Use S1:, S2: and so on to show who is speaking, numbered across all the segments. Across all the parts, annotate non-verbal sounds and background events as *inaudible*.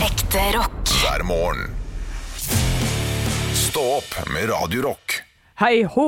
S1: Ekte rock.
S2: hver morgen. Stå opp med Radio Rock.
S3: Hei hå!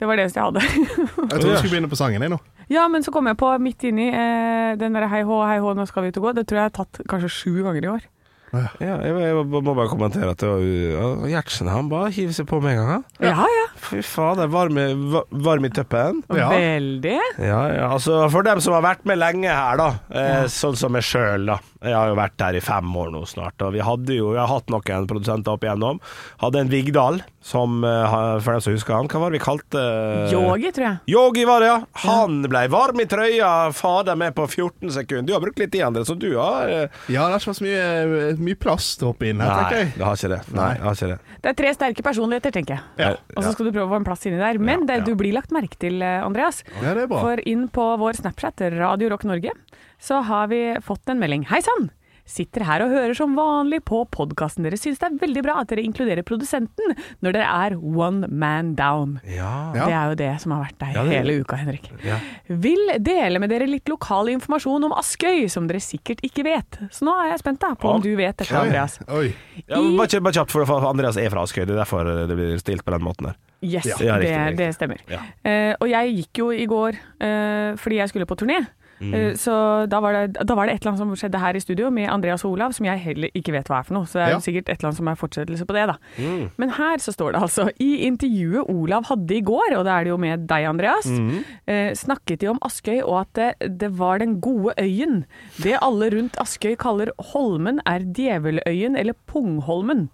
S3: Det var det eneste jeg hadde. *laughs*
S4: Jeg tror vi skal begynne på sangen. Jeg, nå.
S3: ja, men så kom jeg på midt inni eh, den derre hei hå, hei hå, nå skal vi ut og gå. Det tror jeg jeg har tatt kanskje sju ganger i år.
S5: Ja, jeg, jeg må bare kommentere at det var ja, Gjertsen han bare hiver seg på med en gang. han.
S3: Ja ja.
S5: Fy faen, det er varm, i- va- varm i tuppen.
S4: Ja.
S3: Veldig.
S5: Ja, ja, altså for dem som har vært med lenge her, da. Eh, Sånn som meg sjøl, da. Jeg har jo vært her i fem år nå snart. Og vi hadde jo, jeg har hatt noen produsenter opp igjennom. Hadde en Vigdal, som eh, ha- for dem som husker han, hva var det vi kalte
S4: Eh.
S5: eh,
S3: Yogi, tror jeg.
S5: Yogi var det, ja. Han ble varm i trøya, fader meg, på 14 sekunder. Du har brukt litt tid, André, så du har eh,
S4: Ja, det har ikke vært så mye, mye plass til å hoppe inn her,
S5: Nei,
S4: tenker jeg.
S5: det har ikke det. Nei, det har ikke det.
S3: Det er tre sterke personligheter, tenker jeg.
S4: Ja.
S3: Og så skal du prøve å få en plass inni der. Men det du blir lagt merke til, eh, Andreas,
S4: Ja, det er bra.
S3: for inn på vår Snapchat, Radio Rock Norge, så har vi fått en melding. Hei sann! Sitter her og hører som vanlig på podkasten deres. Syns det er veldig bra at dere inkluderer produsenten når dere er one man down.
S5: Ja.
S4: Ja.
S3: Det er jo det som har vært deg
S5: det-
S3: hele uka, Henrik.
S5: Ja.
S3: Vil dele med dere litt lokal informasjon om Askøy, som dere sikkert ikke vet. Så nå er jeg spent da, på om du vet dette, Andreas.
S4: Oi.
S5: Ja, men bare, kjapt- bare kjapt, for for Andreas er fra Askøy. Det er derfor det blir stilt på den måten der.
S3: Yes,
S5: Ja,
S3: det,
S5: riktig, riktig.
S3: det stemmer.
S5: Ja.
S3: Eh, og jeg gikk jo i går eh, fordi jeg skulle på turné.
S5: Mm.
S3: Eh, så da var, det, da var det et eller annet som skjedde her i studio med Andreas og Olav, som jeg heller ikke vet hva er for noe. Så det er
S4: Ja.
S3: jo sikkert et eller annet som er fortsettelse på det, da.
S5: Mm.
S3: Men her så står det altså I intervjuet Olav hadde i går, og det er det jo med deg, Andreas,
S5: Mm.
S3: eh, snakket de om Askøy og at det, det var den gode øyen. Det alle rundt Askøy kaller Holmen, er Djeveløyen eller Pungholmen.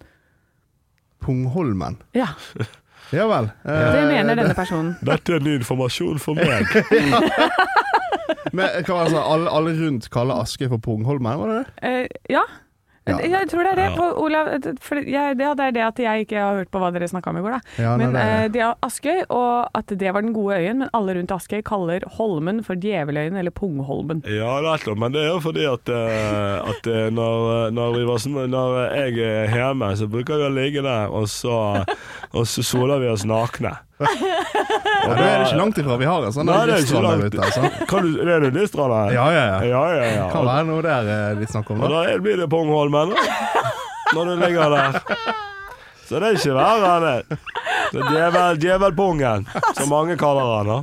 S4: Pungholmen.
S3: Ja,
S4: Ja vel. Eh,
S3: det mener denne personen.
S5: Dette er ny informasjon for meg.
S4: men hva var det sånn, alle, alle rundt kaller Askøy for Pungholmen, var det det?
S3: Eh, ja.
S4: Ja.
S3: Jeg tror det er det. For Olav, for jeg, det er det at jeg ikke har hørt på hva dere snakka om i går, da.
S4: Ja, nei,
S3: men
S4: det er-
S3: eh, det er Askøy, og at det var den gode øyen, men alle rundt Askøy kaller Holmen for Djeveløyen eller Pungholmen.
S5: *laughs* Ja, det er klart, men det er jo fordi at, eh, at eh, når, når, vi var, små- når jeg er hjemme, så bruker vi å ligge der, og så, og så soler vi oss nakne.
S4: Ja, da er det ikke langt ifra vi har en sånn
S5: Nei, det er ikke
S4: strand der
S5: langt.
S4: ute. Altså.
S5: Kan du, er det Nistrand her?
S4: Ja, ja, ja.
S5: ja, ja, ja.
S4: Kan være noe der eh, litt snakk om.
S5: Og
S4: Da.
S5: da er- blir det Pongholmen, da. Når du ligger der. Så det er ikke verre enn det. Det er djevel, djevelpongen, som mange kaller han. da.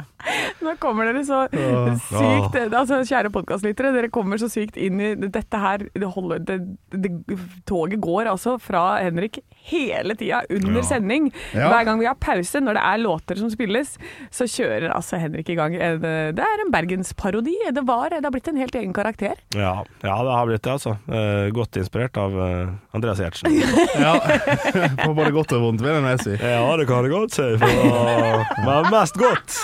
S3: Nå kommer dere så sykt Altså, kjære podkastlyttere, dere kommer så sykt inn i dette her det holder, det, det, Toget går altså fra Henrik hele tida under sending.
S4: Ja.
S3: Hver gang vi har pause, når det er låter som spilles, så kjører altså Henrik i gang en Det er en bergensparodi. Det, var- det har blitt en helt egen karakter.
S5: Ja, ja, det har blitt det, altså. Eh, godt inspirert av eh, Andreas *laughs* Gjertsen.
S4: Ja. *laughs* På både godt og vondt, vil jeg nå si.
S5: Ja, det kan det godt si, for, men mest godt.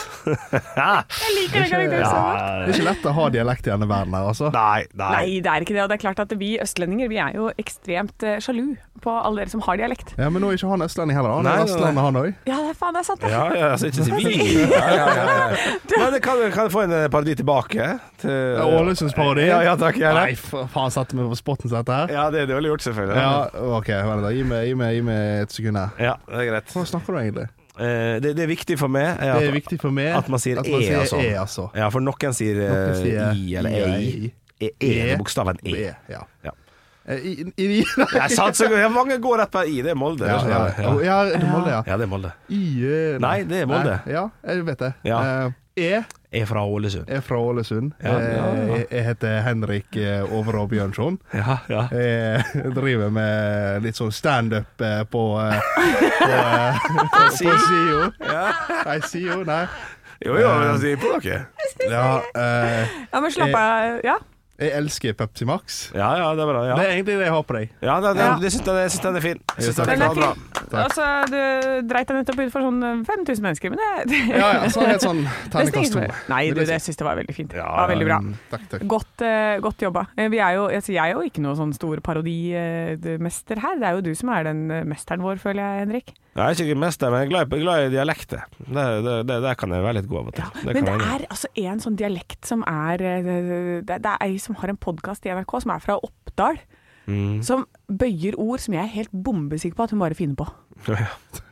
S5: *laughs*
S3: Jeg liker den karakteren så godt.
S4: Det er ikke lett å ha dialekt i denne verden her, altså.
S5: Nei, nei.
S3: Nei, det er ikke det. Og det er klart at vi østlendinger vi er jo ekstremt eh, sjalu på alle dere som har dialekt.
S4: Ja, Men nå er ikke han østlending heller. Han
S5: Nei,
S4: er
S5: nei,
S4: vestlandet,
S5: nei.
S4: han òg.
S3: Ja, det er faen, det er sant. det.
S5: Ja, ja, altså ikke si vi. *laughs* Ja, ja, ja, ja. *laughs* Men kan, kan jeg få en eh, parodi tilbake? Til,
S4: Ja, Ålesunds parodi?
S5: Ja, ja, takk. Ja,
S4: Nei, for faen, satte meg på spotten dette her?
S5: ja det er dårlig gjort, selvfølgelig.
S4: Ja, OK, vent da. Gi meg, gi meg, gi meg et sekund her.
S5: Ja, det er greit.
S4: Hva snakker du egentlig?
S5: Eh, det, det er viktig for meg er at,
S4: Det er viktig for meg
S5: at man sier e, altså.
S4: E, altså.
S5: Ja, for noen sier, eh,
S4: Noen sier
S5: i eller
S4: i,
S5: ei. E, e,
S4: E.
S5: bokstaven
S4: Og
S5: e.
S4: E, ja.
S5: Ja.
S4: Eh, I, i, i, nei.
S5: Jeg satser ja, Mange går rett på i. Det er Molde. det
S4: Ja, ja,
S5: skjønner jeg.
S4: ja. ja, det er Molde, ja.
S5: ja, det er Molde.
S4: I, eh,
S5: Nei, det er Molde.
S4: Nei, Ja, jeg vet det.
S5: Ja.
S4: Eh, E
S5: Er fra Ålesund.
S4: er fra Ålesund.
S5: Ja, ja, ja.
S4: Eh, Jeg, jeg heter Henrik eh, Overå Bjørnson.
S5: Ja, ja.
S4: Jeg *laughs* driver med litt sånn standup eh, på eh, På, eh,
S5: *laughs*
S4: på, på SIO. Nei, SIO, nei.
S5: Jo, jo, men altså, de er på dere.
S4: Ja, eh,
S3: Ja, men slapp av. Ja.
S4: jeg elsker Pepsi Max.
S5: Ja, ja, det er bra. Ja,
S4: Det er egentlig det jeg har på deg.
S5: ja det, det,
S3: Ja.
S5: det syns jeg, jeg syns den er fin. Jeg syns
S4: takk.
S5: den
S3: Den
S5: er
S3: er
S5: bra.
S3: fin. Altså, du dreit deg nettopp ut for sånn 5000 mennesker, men det, det
S4: Ja,
S3: *laughs*
S4: ja, sånn helt sånn
S3: nesten
S4: terningkast
S3: ingen
S4: to.
S3: som- Nei,
S4: vil
S3: du,
S4: jeg
S3: det
S4: si.
S3: syns jeg var veldig fint. Det
S5: Ja,
S3: var veldig bra.
S4: Mm, Takk, takk.
S3: Godt, eh, godt jobba. Eh, Vi er jo, altså, jeg er jo ikke noe sånn stor parodimester her. Det er jo du som er den eh, mesteren vår, føler jeg, Henrik.
S5: Nei, Jeg er ikke mester, men jeg er glad i, glad i dialekter. Det, det, det, der kan jeg være litt god av og til. Det
S3: Men
S5: kan
S3: det
S5: jeg.
S3: er altså en sånn dialekt som er eh, Det, det er ei som har en podkast i NRK som er fra Oppdal,
S5: Mm.
S4: Mm.
S3: som bøyer ord som jeg er helt bombesikker på at hun bare finner på.
S5: Ja.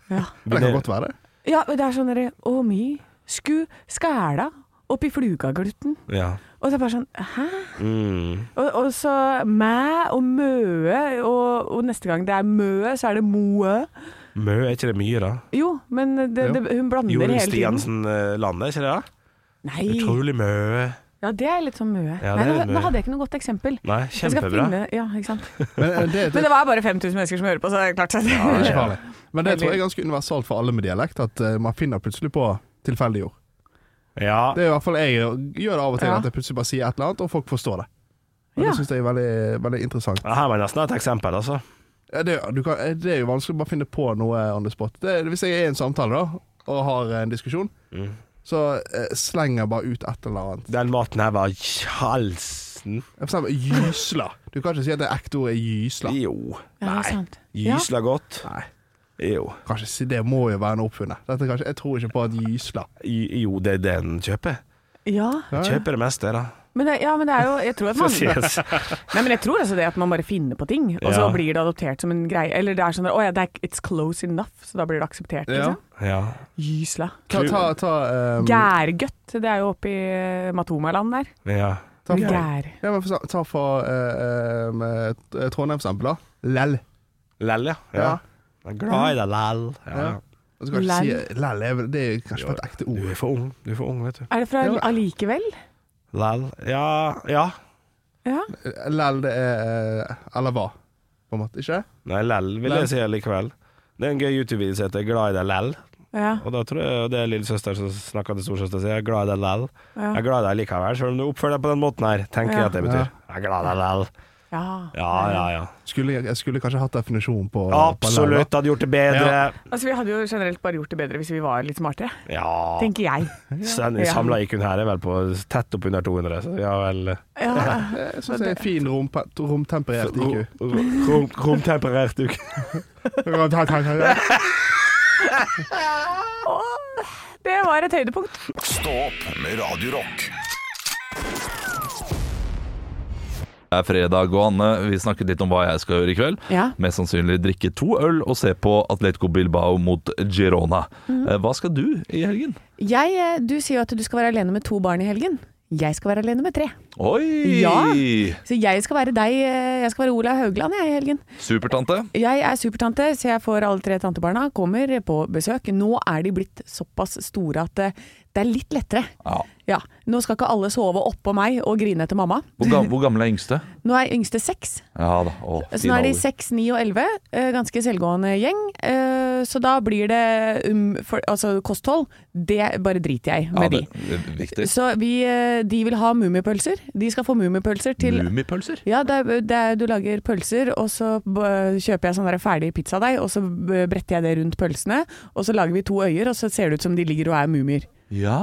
S3: Ja.
S4: Det kan godt være det.
S3: Ja, men det er sånn derre Å mi sku skæla oppi Flugagluten.
S5: Ja.
S3: Og så er det bare sånn Hæ?
S5: Mm.
S3: Og, og så mæ og møe, og, og neste gang det er møe, så er det moe.
S5: Mø, er ikke det mye, da?
S3: Jo, men det, det, hun blander
S5: Jorunn
S3: hele tiden.
S5: Stiansen-landet, ikke det? da?
S3: Nei,
S5: Utrolig mø.
S3: ja, det er litt sånn møe.
S5: Ja,
S3: Nei,
S5: det er
S3: nå,
S5: litt møe.
S3: nå hadde jeg ikke noe godt eksempel.
S5: Nei,
S3: Jeg skal
S5: kjempebra.
S3: finne- Ja, ikke sant?
S4: Men
S3: *laughs*
S4: eh, det,
S3: Men
S4: det,
S3: det var bare 5000 mennesker som hører på, så det er klart at
S4: det er ikke farlig. Men det tror jeg
S3: Veldig.
S4: er ganske universalt for alle med dialekt, at eh, man finner plutselig på tilfeldige ord.
S5: Ja.
S4: Det er i hvert fall jeg gjør det av og til,
S3: Ja.
S4: at jeg plutselig bare sier et eller annet, og folk forstår det. Og
S3: Ja.
S4: Det syns jeg er veldig, veldig interessant.
S5: Ja, Her var nesten et eksempel, altså.
S4: Ja, det, du kan, eh, det er jo vanskelig å bare finne på noe eh, on the spot. Det, hvis jeg er i en samtale da, og har en diskusjon, så eh, slenger jeg bare ut et eller annet.
S5: Den maten her var halsen.
S4: For eksempel gysla. Du kan ikke si at det ekte ordet er gysla.
S5: Jo.
S3: Ja, det er sant. Ja.
S5: Gysla godt.
S4: Nei.
S5: Jo.
S4: Kan ikke si, det må jo være noe oppfunnet. Dette kan ikke- jeg tror ikke på at gysla
S5: I- Jo, det er det den kjøper.
S3: Ja,
S4: Ja, ja.
S5: Kjøper det meste, da.
S3: men det, ja, men det er jo Jeg tror at
S5: Så
S3: man
S5: sies.
S3: Nei, men jeg tror altså det at man bare finner på ting, og så
S5: Ja.
S3: blir det adoptert som en greie. Eller det er sånn der, Å ja, det er, it's close enough, så da blir det akseptert.
S4: Ja.
S3: Liksom.
S5: *laughs* Ja.
S3: Gysla.
S4: Ta, ta, ta, um,
S3: Gærgøtt, det er jo oppe i eh, Matomaland der.
S5: ja.
S4: ta for, ja,
S3: Gær.
S4: men for, ta for eh, um, eh, Trondheimsempel, da. Lell.
S5: Lell, ja.
S4: Ja.
S5: ja. Jeg er glad i deg, lell. Ja.
S4: Ja. Og så kan jeg
S3: Lell.
S4: ikke si Lell er vel Det er kanskje bare et ekte
S5: Du
S4: ord.
S5: er for ung, du er for ung, vet du.
S3: Er det fra
S4: Ja.
S3: allikevel?
S5: Lell. Ja. ja.
S3: Ja.
S4: Lell, det er eh, Eller hva, på en måte. Ikke?
S5: Nei, lell vil
S4: Lell.
S5: jeg si likevel. Det er en gøy YouTube-video som heter 'Glad i deg, lell'.
S3: ja.
S5: Og da tror jeg det er lillesøster som snakker til storsøster og sier 'Jeg er glad i deg, lell'.
S3: Ja.
S5: Jeg er glad i deg likevel, selv om du oppfører deg på den måten her, tenker
S3: Ja.
S5: jeg at det betyr. Jeg er glad i deg, lell.
S3: ja.
S5: Ja, ja, ja.
S4: Skulle, jeg- jeg skulle kanskje hatt definisjonen på
S5: Absolutt hadde gjort det bedre.
S3: Altså, vi hadde jo generelt bare gjort det bedre hvis vi var litt smartere,
S5: Ja.
S3: tenker jeg.
S5: Den
S3: Ja.
S5: samla IQ-en her er vel på tett oppunder 200, så vi har vel
S3: Ja.
S5: *laughs*
S4: På lell, da. Jeg syns det er en fin rompe- romtemperert IQ.
S5: Rom- Romtemperert IQ.
S3: Åh, det var et høydepunkt.
S2: Stå opp med Radio Rock.
S1: Det er fredag, og Anne, vi snakket litt om hva jeg skal gjøre i kveld.
S3: Ja.
S1: Mest sannsynlig drikke to øl og se på Atletico Bilbao mot Girona.
S3: Mm.
S1: Eh, Hva skal du i helgen?
S3: Jeg, eh, du sier jo at du skal være alene med to barn i helgen. Jeg skal være alene med tre.
S1: Oi!
S3: Ja. Så jeg skal være deg, eh, jeg skal være Ola Haugland jeg, i helgen.
S1: Supertante.
S3: Jeg er supertante, så jeg får alle tre tantebarna. Kommer på besøk. Nå er de blitt såpass store at eh, det er litt lettere.
S1: Ja.
S3: Ja, Nå skal ikke alle sove oppå meg og grine etter mamma.
S1: Hvor, gam hvor gammel er yngste?
S3: Nå er yngste seks.
S1: Ja da. Å,
S3: Så
S1: fin
S3: nå er de
S1: alder.
S3: seks, ni og elleve. eh, Ganske selvgående gjeng. eh, Så da blir det um, for, Altså kosthold, det bare driter jeg med
S1: ja,
S3: de.
S1: det, det er viktig.
S3: Så vi, eh, de vil ha mummipølser. De skal få mummipølser til
S1: Mummipølser?
S3: ja, det er, det er, du lager pølser, og så b- kjøper jeg sånn der ferdig pizzadeig, og så b- bretter jeg det rundt pølsene, og så lager vi to øyer, og så ser det ut som de ligger og er mumier.
S1: Ja.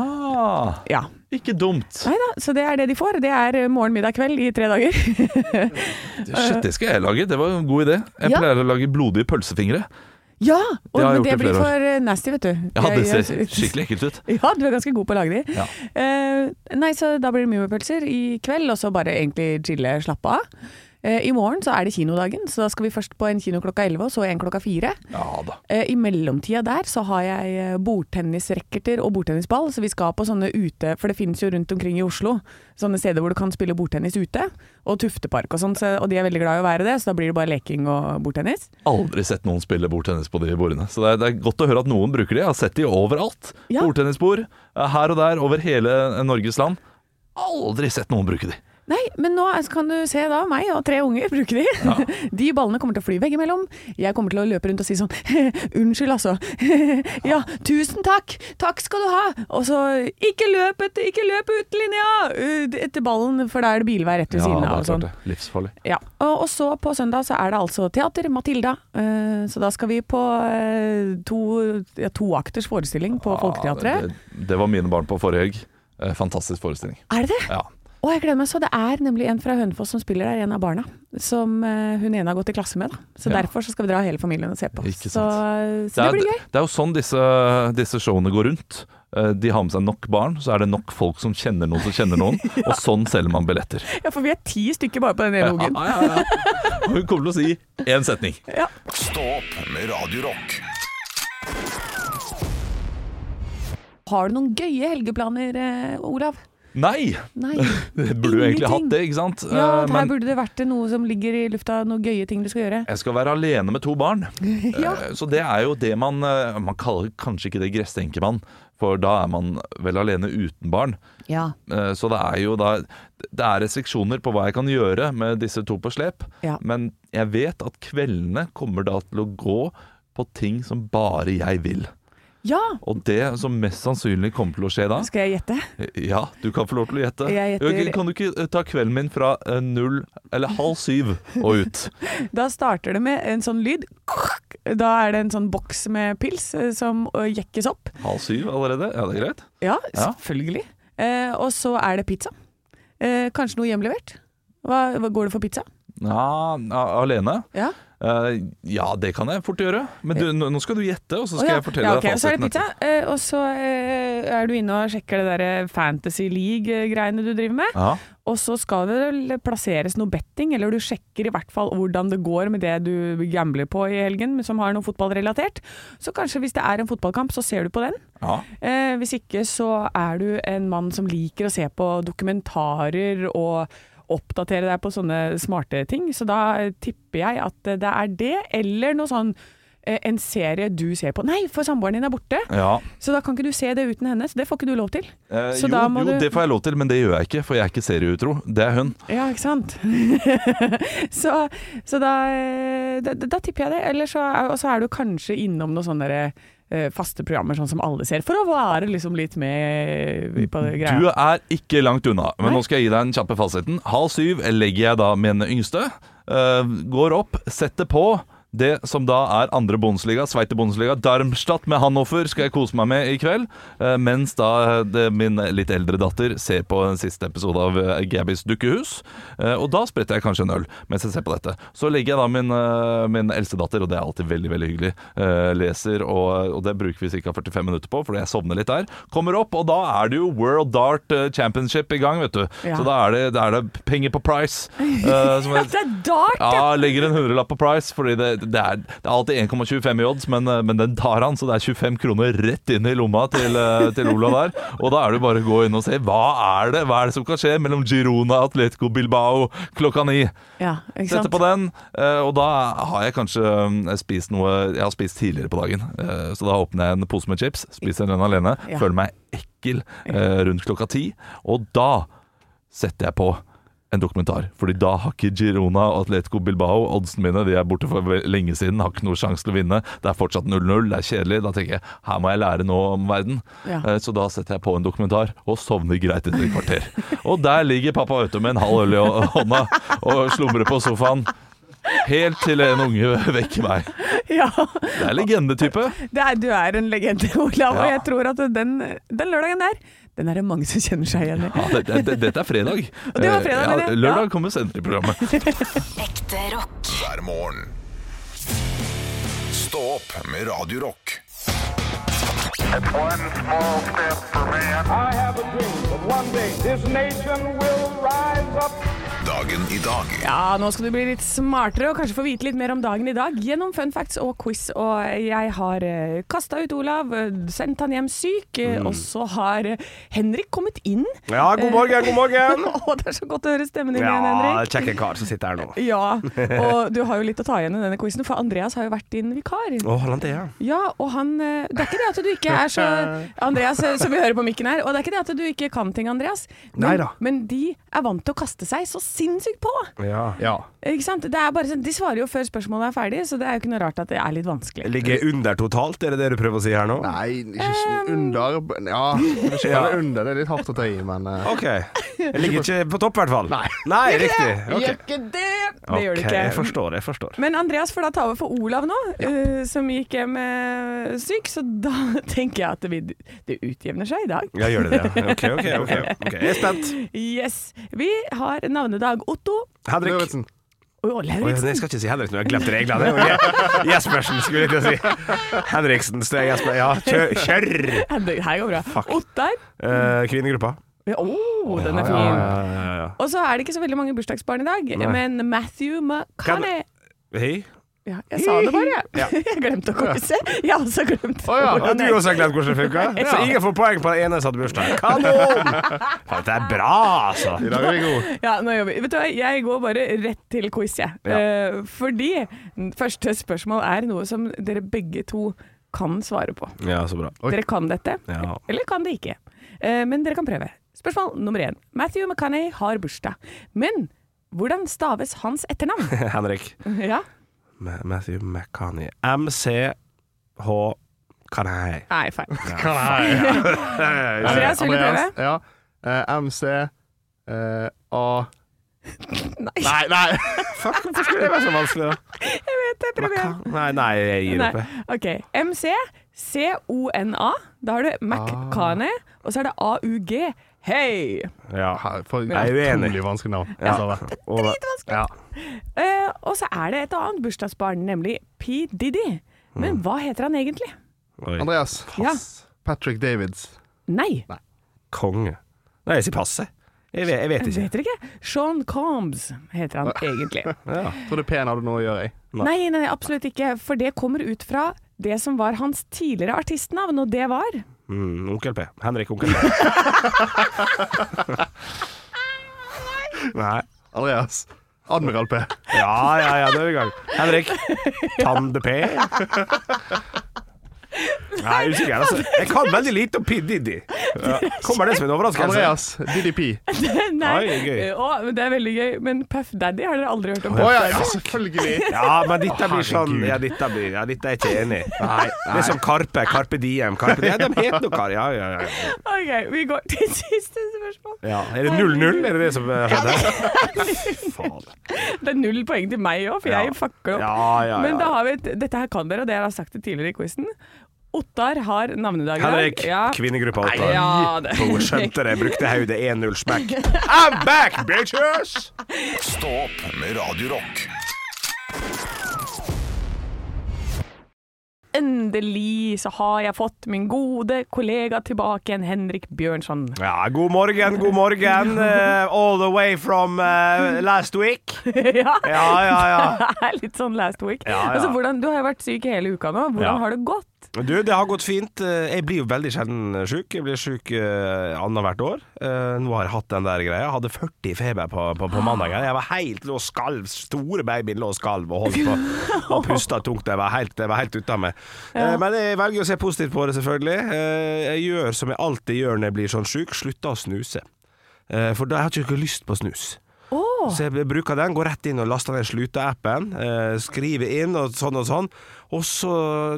S3: Ja.
S1: Ikke dumt.
S3: Nei da, så det er det de får. Det er eh, morgen, middag, kveld i tre dager.
S1: Shit, det skal jeg lage. Det var en god idé. Jeg
S3: Ja.
S1: pleier å lage blodige pølsefingre.
S3: ja! Og,
S1: Det har jeg gjort
S3: men det
S1: i flere
S3: blir
S1: år.
S3: for eh, nasty, vet du.
S1: Ja, det
S3: Jeg- *laughs*
S1: ser
S3: jeg-
S1: skikkelig ekkelt ut.
S3: Ja, du er ganske god på å lage de.
S1: Ja.
S3: Eh, nei, så da blir det mummipølser i kveld, og så bare egentlig chille, slappe av. Eh, I morgen så er det kinodagen, så da skal vi først på en kino klokka 11, og så en klokka 4.
S1: Ja da.
S3: Eh, I mellomtida der så har jeg eh, bordtennisracketer og bordtennisball, så vi skal på sånne ute, for det finnes jo rundt omkring i Oslo, sånne steder hvor du kan spille bordtennis ute, og tuftepark og sånn, så, og de er veldig glad i å være det, så da blir det bare leking og bordtennis.
S1: Aldri sett noen spille bordtennis på de bordene. Så det er, det er godt å høre at noen bruker de. Jeg har sett de overalt.
S3: Ja.
S1: Bordtennisbord eh, her og der over hele eh, Norges land. Aldri sett noen bruke de.
S3: Nei, men nå er- så kan du se da meg og tre unger bruke de. *laughs* De ballene kommer til å fly veggimellom. Jeg kommer til å løpe rundt og si sånn *laughs* Unnskyld, altså. *laughs* ja, tusen takk! Takk skal du ha! Og så ikke løp etter, ikke løp ut linja! uh, Etter ballen, for da er det bilvei rett ved siden av. og sånn.
S1: Livsfarlig.
S3: Ja, og, og så på søndag så er det altså teater, Matilda. Eh, så da skal vi på eh, to, ja, toakters forestilling på Folketeatret.
S1: Ja, det, det var mine barn på forrige helg. Eh, Fantastisk forestilling.
S3: Er det det?
S1: Ja.
S3: Å, jeg gleder meg så. Det er nemlig en fra Hønefoss som spiller der, en av barna. Som eh, hun ene har gått i klasse med, da. Så
S1: Ja.
S3: derfor så skal vi dra hele familien og se på.
S1: Ikke sant.
S3: Så, eh, så det,
S1: er,
S3: blir gøy.
S1: det er jo sånn disse, disse showene går rundt. Eh, De har med seg nok barn, så er det nok folk som kjenner noen som kjenner
S3: *laughs*
S1: noen. Og sånn selger man billetter.
S3: Ja, for vi er ti stykker bare på den ene ungen.
S1: Ja, ja, ja. Hun kommer til å si én setning.
S2: Stå opp med Radio Rock.
S3: Har du noen gøye helgeplaner, eh, Olav?
S1: Nei! *laughs*
S3: Nei.
S1: Det burde jo egentlig
S3: Ingenting.
S1: hatt det, ikke sant?
S3: Ja,
S1: Eh,
S3: her
S1: men
S3: burde det vært noe som ligger i lufta, noen gøye ting du skal gjøre.
S1: jeg skal være alene med to barn.
S3: Ja.
S1: Eh, Så det er jo det man eh, Man kaller kanskje ikke det gresstenkemann, for da er man vel alene uten barn.
S3: Ja.
S1: Eh, Så det er jo da Det er restriksjoner på hva jeg kan gjøre med disse to på slep.
S3: Ja.
S1: Men jeg vet at kveldene kommer da til å gå på ting som bare jeg vil.
S3: ja.
S1: Og det som mest sannsynlig kommer til å skje da
S3: Skal jeg gjette?
S1: Ja, du kan få lov til å gjette.
S3: Jeg gjetter-
S1: Jørgen, Kan du ikke eh, ta kvelden min fra eh, null eller halv syv og ut?
S3: Da starter det med en sånn lyd. Da er det en sånn boks med pils eh, som eh, jekkes opp.
S1: Halv syv allerede? Ja, det er greit.
S3: Ja,
S1: Ja.
S3: selvfølgelig. Eh, og så er det pizza. Eh, kanskje noe hjemlevert. Hva, hva går det for pizza?
S1: Ja, a- alene?
S3: Ja.
S1: Eh, ja, det kan jeg fort gjøre. Men du, nå nå skal du gjette, og så skal
S3: Å ja.
S1: jeg fortelle
S3: ja, ok,
S1: deg
S3: Så er det
S1: fasiten.
S3: pizza,
S1: etterpå.
S3: eh, og så eh, er du inne og sjekker det der Fantasy League-greiene du driver med.
S1: Ja.
S3: Og så skal det vel plasseres noe betting, eller du sjekker i hvert fall hvordan det går med det du gambler på i helgen, som har noe fotballrelatert. Så kanskje hvis det er en fotballkamp, så ser du på den.
S1: ja.
S3: Eh, hvis ikke så er du en mann som liker å se på dokumentarer og oppdatere deg på sånne smarte ting. Så da eh, tipper jeg at eh, det er det, eller noe sånn eh, en serie du ser på. Nei, for samboeren din er borte,
S1: ja.
S3: så da kan ikke du se det uten henne. Så det får ikke du lov til.
S1: Eh,
S3: Så
S1: jo,
S3: da må
S1: jo,
S3: du-
S1: det får jeg lov til, men det gjør jeg ikke, for jeg er ikke serieutro. Det er hun.
S3: Ja, ikke sant? *laughs* så så da, eh, da, da tipper jeg det. Eller så, er- og så er du kanskje innom noen sånne der, eh, faste programmer sånn som alle ser, for å være liksom litt med eh, på det greia.
S1: Du
S3: *laughs*
S1: er ikke langt unna, men
S3: Nei.
S1: nå skal jeg gi deg den kjappe fasiten. Halv syv legger jeg da min yngste. eh, går opp, setter på. Det som da er andre Bundesliga, Sveiter Bundesliga, Darmstadt med Hanoffer skal jeg kose meg med i kveld. eh, mens da eh, det, min litt eldre datter ser på den siste episode av eh, Gabbys dukkehus. eh, og da spretter jeg kanskje en øl mens jeg ser på dette. Så legger jeg da min, eh, min eldste datter, og det er alltid veldig veldig hyggelig, eh, leser, og, og det bruker vi ca. 45 minutter på, fordi jeg sovner litt der. Kommer opp, og da er det jo World Dart eh, Championship i gang, vet du.
S3: Ja.
S1: Så da er det, da er det penger på price. eh,
S3: *laughs*
S1: som jeg-
S3: Det er dart! Ja.
S1: ja, legger en hundrelapp på Price, fordi det, det, er, det er alltid 1,25 i odds, men, eh, men den tar han, så det er 25 kroner rett inn i lomma til, eh, til Olav der. Og da er det jo bare å gå inn og se hva er det Hva er det som kan skje mellom Girona og Atletico Bilbao klokka ni.
S3: ikke sant?
S1: Sette på den, eh, og da har jeg kanskje eh, spist noe jeg har spist tidligere på dagen. Eh, Så da åpner jeg en pose med chips, spiser den alene,
S3: Ja.
S1: føler meg ekkel eh, rundt klokka ti, og da setter jeg på en dokumentar, fordi da har ikke Girona og Atletico Bilbao oddsene mine, de er borte for ve- lenge siden, har ikke noe sjanse til å vinne. Det er fortsatt 0-0, det er kjedelig. Da tenker jeg her må jeg lære noe om verden.
S3: Ja.
S1: Eh, Så da setter jeg på en dokumentar og sovner greit etter et kvarter. Og der ligger pappa ute med en halv øl i å- hånda og slumrer på sofaen. Helt til en unge vekker meg.
S3: Ja,
S1: Det er legendetype.
S3: det er, du er en legende, Olav, og
S1: Ja.
S3: jeg tror at den, den lørdagen der, den er det mange som kjenner seg igjen i.
S1: Ja, det, det, det, dette er fredag.
S3: Og det var fredag,
S1: Eh,
S3: det, ja.
S1: lørdag kommer senterprogrammet.
S3: *laughs*
S6: Ekte rock.
S2: hver morgen. Stå opp med Radio Rock.
S7: One small step for man. I have a dream that one day this nation will rise up.
S2: Dagen i dag
S3: Ja, nå skal du bli litt smartere og kanskje få vite litt mer om dagen i dag gjennom fun facts og quiz. Og jeg har eh, kasta ut Olav, eh, sendt han hjem syk, eh,
S1: Mm.
S3: og så har eh, Henrik kommet inn.
S5: Ja, god morgen, god morgen!
S3: *laughs* Å, det er så godt å høre stemmen din igjen,
S5: Ja,
S1: *laughs*
S3: Henrik.
S5: kjekke kar som sitter her nå.
S3: Ja, og du har jo litt å ta igjen i denne quizen, for Andreas har jo vært din vikar.
S5: Å, han det, ja.
S3: Ja, og han eh, Det er ikke det at du ikke er
S5: *laughs*
S3: så Andreas, eh, som vi hører på mikken her, og det er ikke det at du ikke kan ting, Andreas, men,
S4: Neida.
S3: men de er vant til å kaste seg så sinnssykt på.
S5: ja.
S4: Ja.
S3: Ikke sant? Det er bare sånn, De svarer jo før spørsmålet er ferdig, så det er jo ikke noe rart at det er litt vanskelig.
S5: Ligger jeg under totalt, er det det du prøver å si her nå?
S4: Nei, ikke sånn under Ja, det er ikke
S5: Ja.
S4: bare under. Det er litt hardt å ta i, men eh,
S3: *laughs*
S5: Ok. Jeg ligger ikke på topp, i hvert fall. Nei, riktig.
S3: Gjør
S5: Ok.
S3: ikke det! Det gjør du
S5: Ok, Jeg
S3: ikke.
S5: forstår,
S3: *laughs*
S5: jeg forstår.
S3: Men Andreas får da ta over for Olav nå, eh, som gikk hjem eh, syk, så da *laughs* tenker jeg at vi, det utjevner seg i dag.
S5: Ja, gjør det det? ja. Ok, ok, ok. ok. Jeg er spent.
S3: Yes. Vi har navnedag Otto
S5: Henrik.
S4: Lauritzen.
S3: og
S5: Oi,
S3: Lauritzen.
S5: nei, jeg skal ikke si Henrik nå, jeg har glemt reglene. Det
S3: *laughs*
S5: er jo Je- Jespersen skulle jeg til å si. Henriksen, det er Jesper. Ja, kjør! kjør.
S3: Ja, det Her går bra.
S5: Fuck.
S3: Ottar.
S5: Eh, kvinnegruppa.
S3: Å, oh, den er fin.
S5: ja, ja.
S3: Og så er det ikke så veldig mange bursdagsbarn i dag, men Matthew McCann
S5: Kan- Hei.
S3: Ja, jeg sa det bare, jeg. *laughs* Jeg glemte å korrigere. Jeg har også glemt
S4: Å ja,
S5: Og du
S3: ordet.
S5: også har glemt hvordan det *laughs* funker? Så ingen får poeng på den ene som hadde bursdag. Kanon! Faen, Dette er bra, altså.
S4: I dag er vi gode.
S3: Ja, nå jobber vi. Vet du hva, jeg går bare rett til quiz, jeg.
S5: Ja.
S3: Eh, fordi første spørsmål er noe som dere begge to kan svare på.
S5: Ja, så bra.
S4: Oi.
S3: Dere kan dette,
S5: Ja.
S3: eller kan det ikke. Eh, men dere kan prøve. Spørsmål nummer én. Matthew McCanney har bursdag, men hvordan staves hans
S5: *laughs*
S3: etternavn?
S5: *laughs* Henrik.
S3: ja.
S5: Ma- Matthew McCanny. MCH Kanei.
S3: Nei, *laughs* feil.
S5: Ja,
S3: Andreas, vil du prøve?
S4: Eh, Ja. Eh, MC eh, A
S3: Nei,
S5: Nei, nei! Fuck, hvorfor skulle det være så vanskelig, da?
S3: jeg vet det. Prøv igjen.
S5: Maca- Nei, nei, jeg gir opp.
S3: Nei.
S5: jeg.
S3: OK. MC, C-O-N-A. Da har du McCanney,
S5: Ah.
S3: og så er det AUG. Hei!
S5: Ja.
S4: Her, for
S5: Jeg er uenig.
S4: Utrolig vanskelig navn. Altså,
S5: Ja. Og,
S3: Dritvanskelig. Eh, og så er det et annet bursdagsbarn, nemlig P. Diddy.
S5: Mm.
S3: Men hva heter han egentlig?
S5: oi,
S4: Andreas.
S3: Ja.
S4: Patrick Davids.
S3: Nei,
S5: konge. Nei, jeg sier pass, jeg. Jeg vet, jeg vet
S3: jeg
S5: ikke.
S3: vet dere ikke. Sean Combs heter
S5: *laughs*
S3: han egentlig.
S5: Ja.
S4: Tror du P-en hadde noe å gjøre i?
S3: Nei, nei, absolutt ikke. For det kommer ut fra det som var hans tidligere artistnavn, og det var *laughs*
S5: Mm, onkel P. Henrik Onkel P. Nei.
S4: Andreas. Admiral P.
S5: Ja, ja, ja, da er vi i gang. Henrik. Tande-P. Nei, usikker. Altså. Jeg kan veldig lite om P. Diddy. Ja. Kommer det som en overraskelse?
S4: Andreas. DDP.
S3: Nei,
S5: Oi, gøy.
S3: Å, men det er veldig gøy. Men Puff Daddy har dere aldri hørt om.
S4: Å ja, ja, selvfølgelig.
S5: Ja, men dette blir sånn
S4: Herregud.
S5: Ja, dette blir Ja, dette er jeg ikke enig i. Det er som Karpe. Karpe Diem. Karpe Diem. De heter noe, Kari. ja, ja, ja.
S3: OK, vi går til *laughs* siste spørsmål.
S5: ja. Er det 0-0? Er det det som eh, skjedde? Faen.
S3: Det er null poeng til meg òg, for
S5: Ja.
S3: jeg fucker opp.
S5: Ja, ja, ja.
S3: Men da har vi et, dette her kan dere, og det har jeg sagt det tidligere i quizen. Ottar har navnedag i dag.
S5: Henrik.
S3: Ja.
S5: Kvinnegruppa Ottar.
S3: Ja, det.
S5: Hun skjønte det, brukte hodet 1-0 smekk. I'm back, bitches!
S2: Stå opp med Radio Rock.
S3: Endelig så har jeg fått min gode kollega tilbake igjen, Henrik Bjørnson. *laughs*
S5: Ja, god morgen, god morgen. eh, all the way from eh, last week.
S3: ja.
S5: Ja, ja, ja.
S3: *laughs* Det er litt sånn last week.
S5: Ja, ja.
S3: Altså, hvordan, du har jo vært syk hele uka nå. Hvordan
S5: Ja.
S3: har det gått?
S5: Du, det har gått fint. Eh, Jeg blir jo veldig sjelden sjuk. Jeg blir sjuk eh, annethvert år. Eh, Nå har jeg hatt den der greia. Jeg hadde 40 i feber på, på, på mandagen. Jeg var helt lå og skalv. Store babyen lå og skalv og holdt på. Og pusta tungt. Jeg var helt, jeg var helt ute av meg. Eh, Men jeg velger å se positivt på det, selvfølgelig. Eh, Jeg gjør som jeg alltid gjør når jeg blir sånn sjuk, slutter å snuse. Eh, For da har jeg ikke lyst på snus.
S3: Åh,
S5: Så jeg bruker den, går rett inn og laster ned Sluta-appen, eh, skriver inn og sånn og sånn. Og så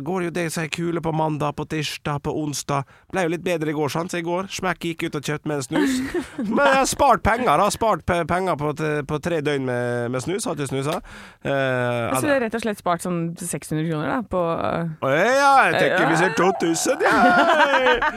S5: går jo det seg kule på mandag, på tirsdag, på onsdag. Ble jo litt bedre i går, sant? Så i går smekk gikk ut og kjøpte meg en snus. Men jeg har spart penger, da. Spart pe- penger på, t- på tre døgn med, med snus. Har ikke snusa. Eh,
S3: så du har rett og slett spart sånn 600 kroner da, på øh,
S5: Å, Ja, jeg tenker vi ser 2000, ja!
S3: *laughs*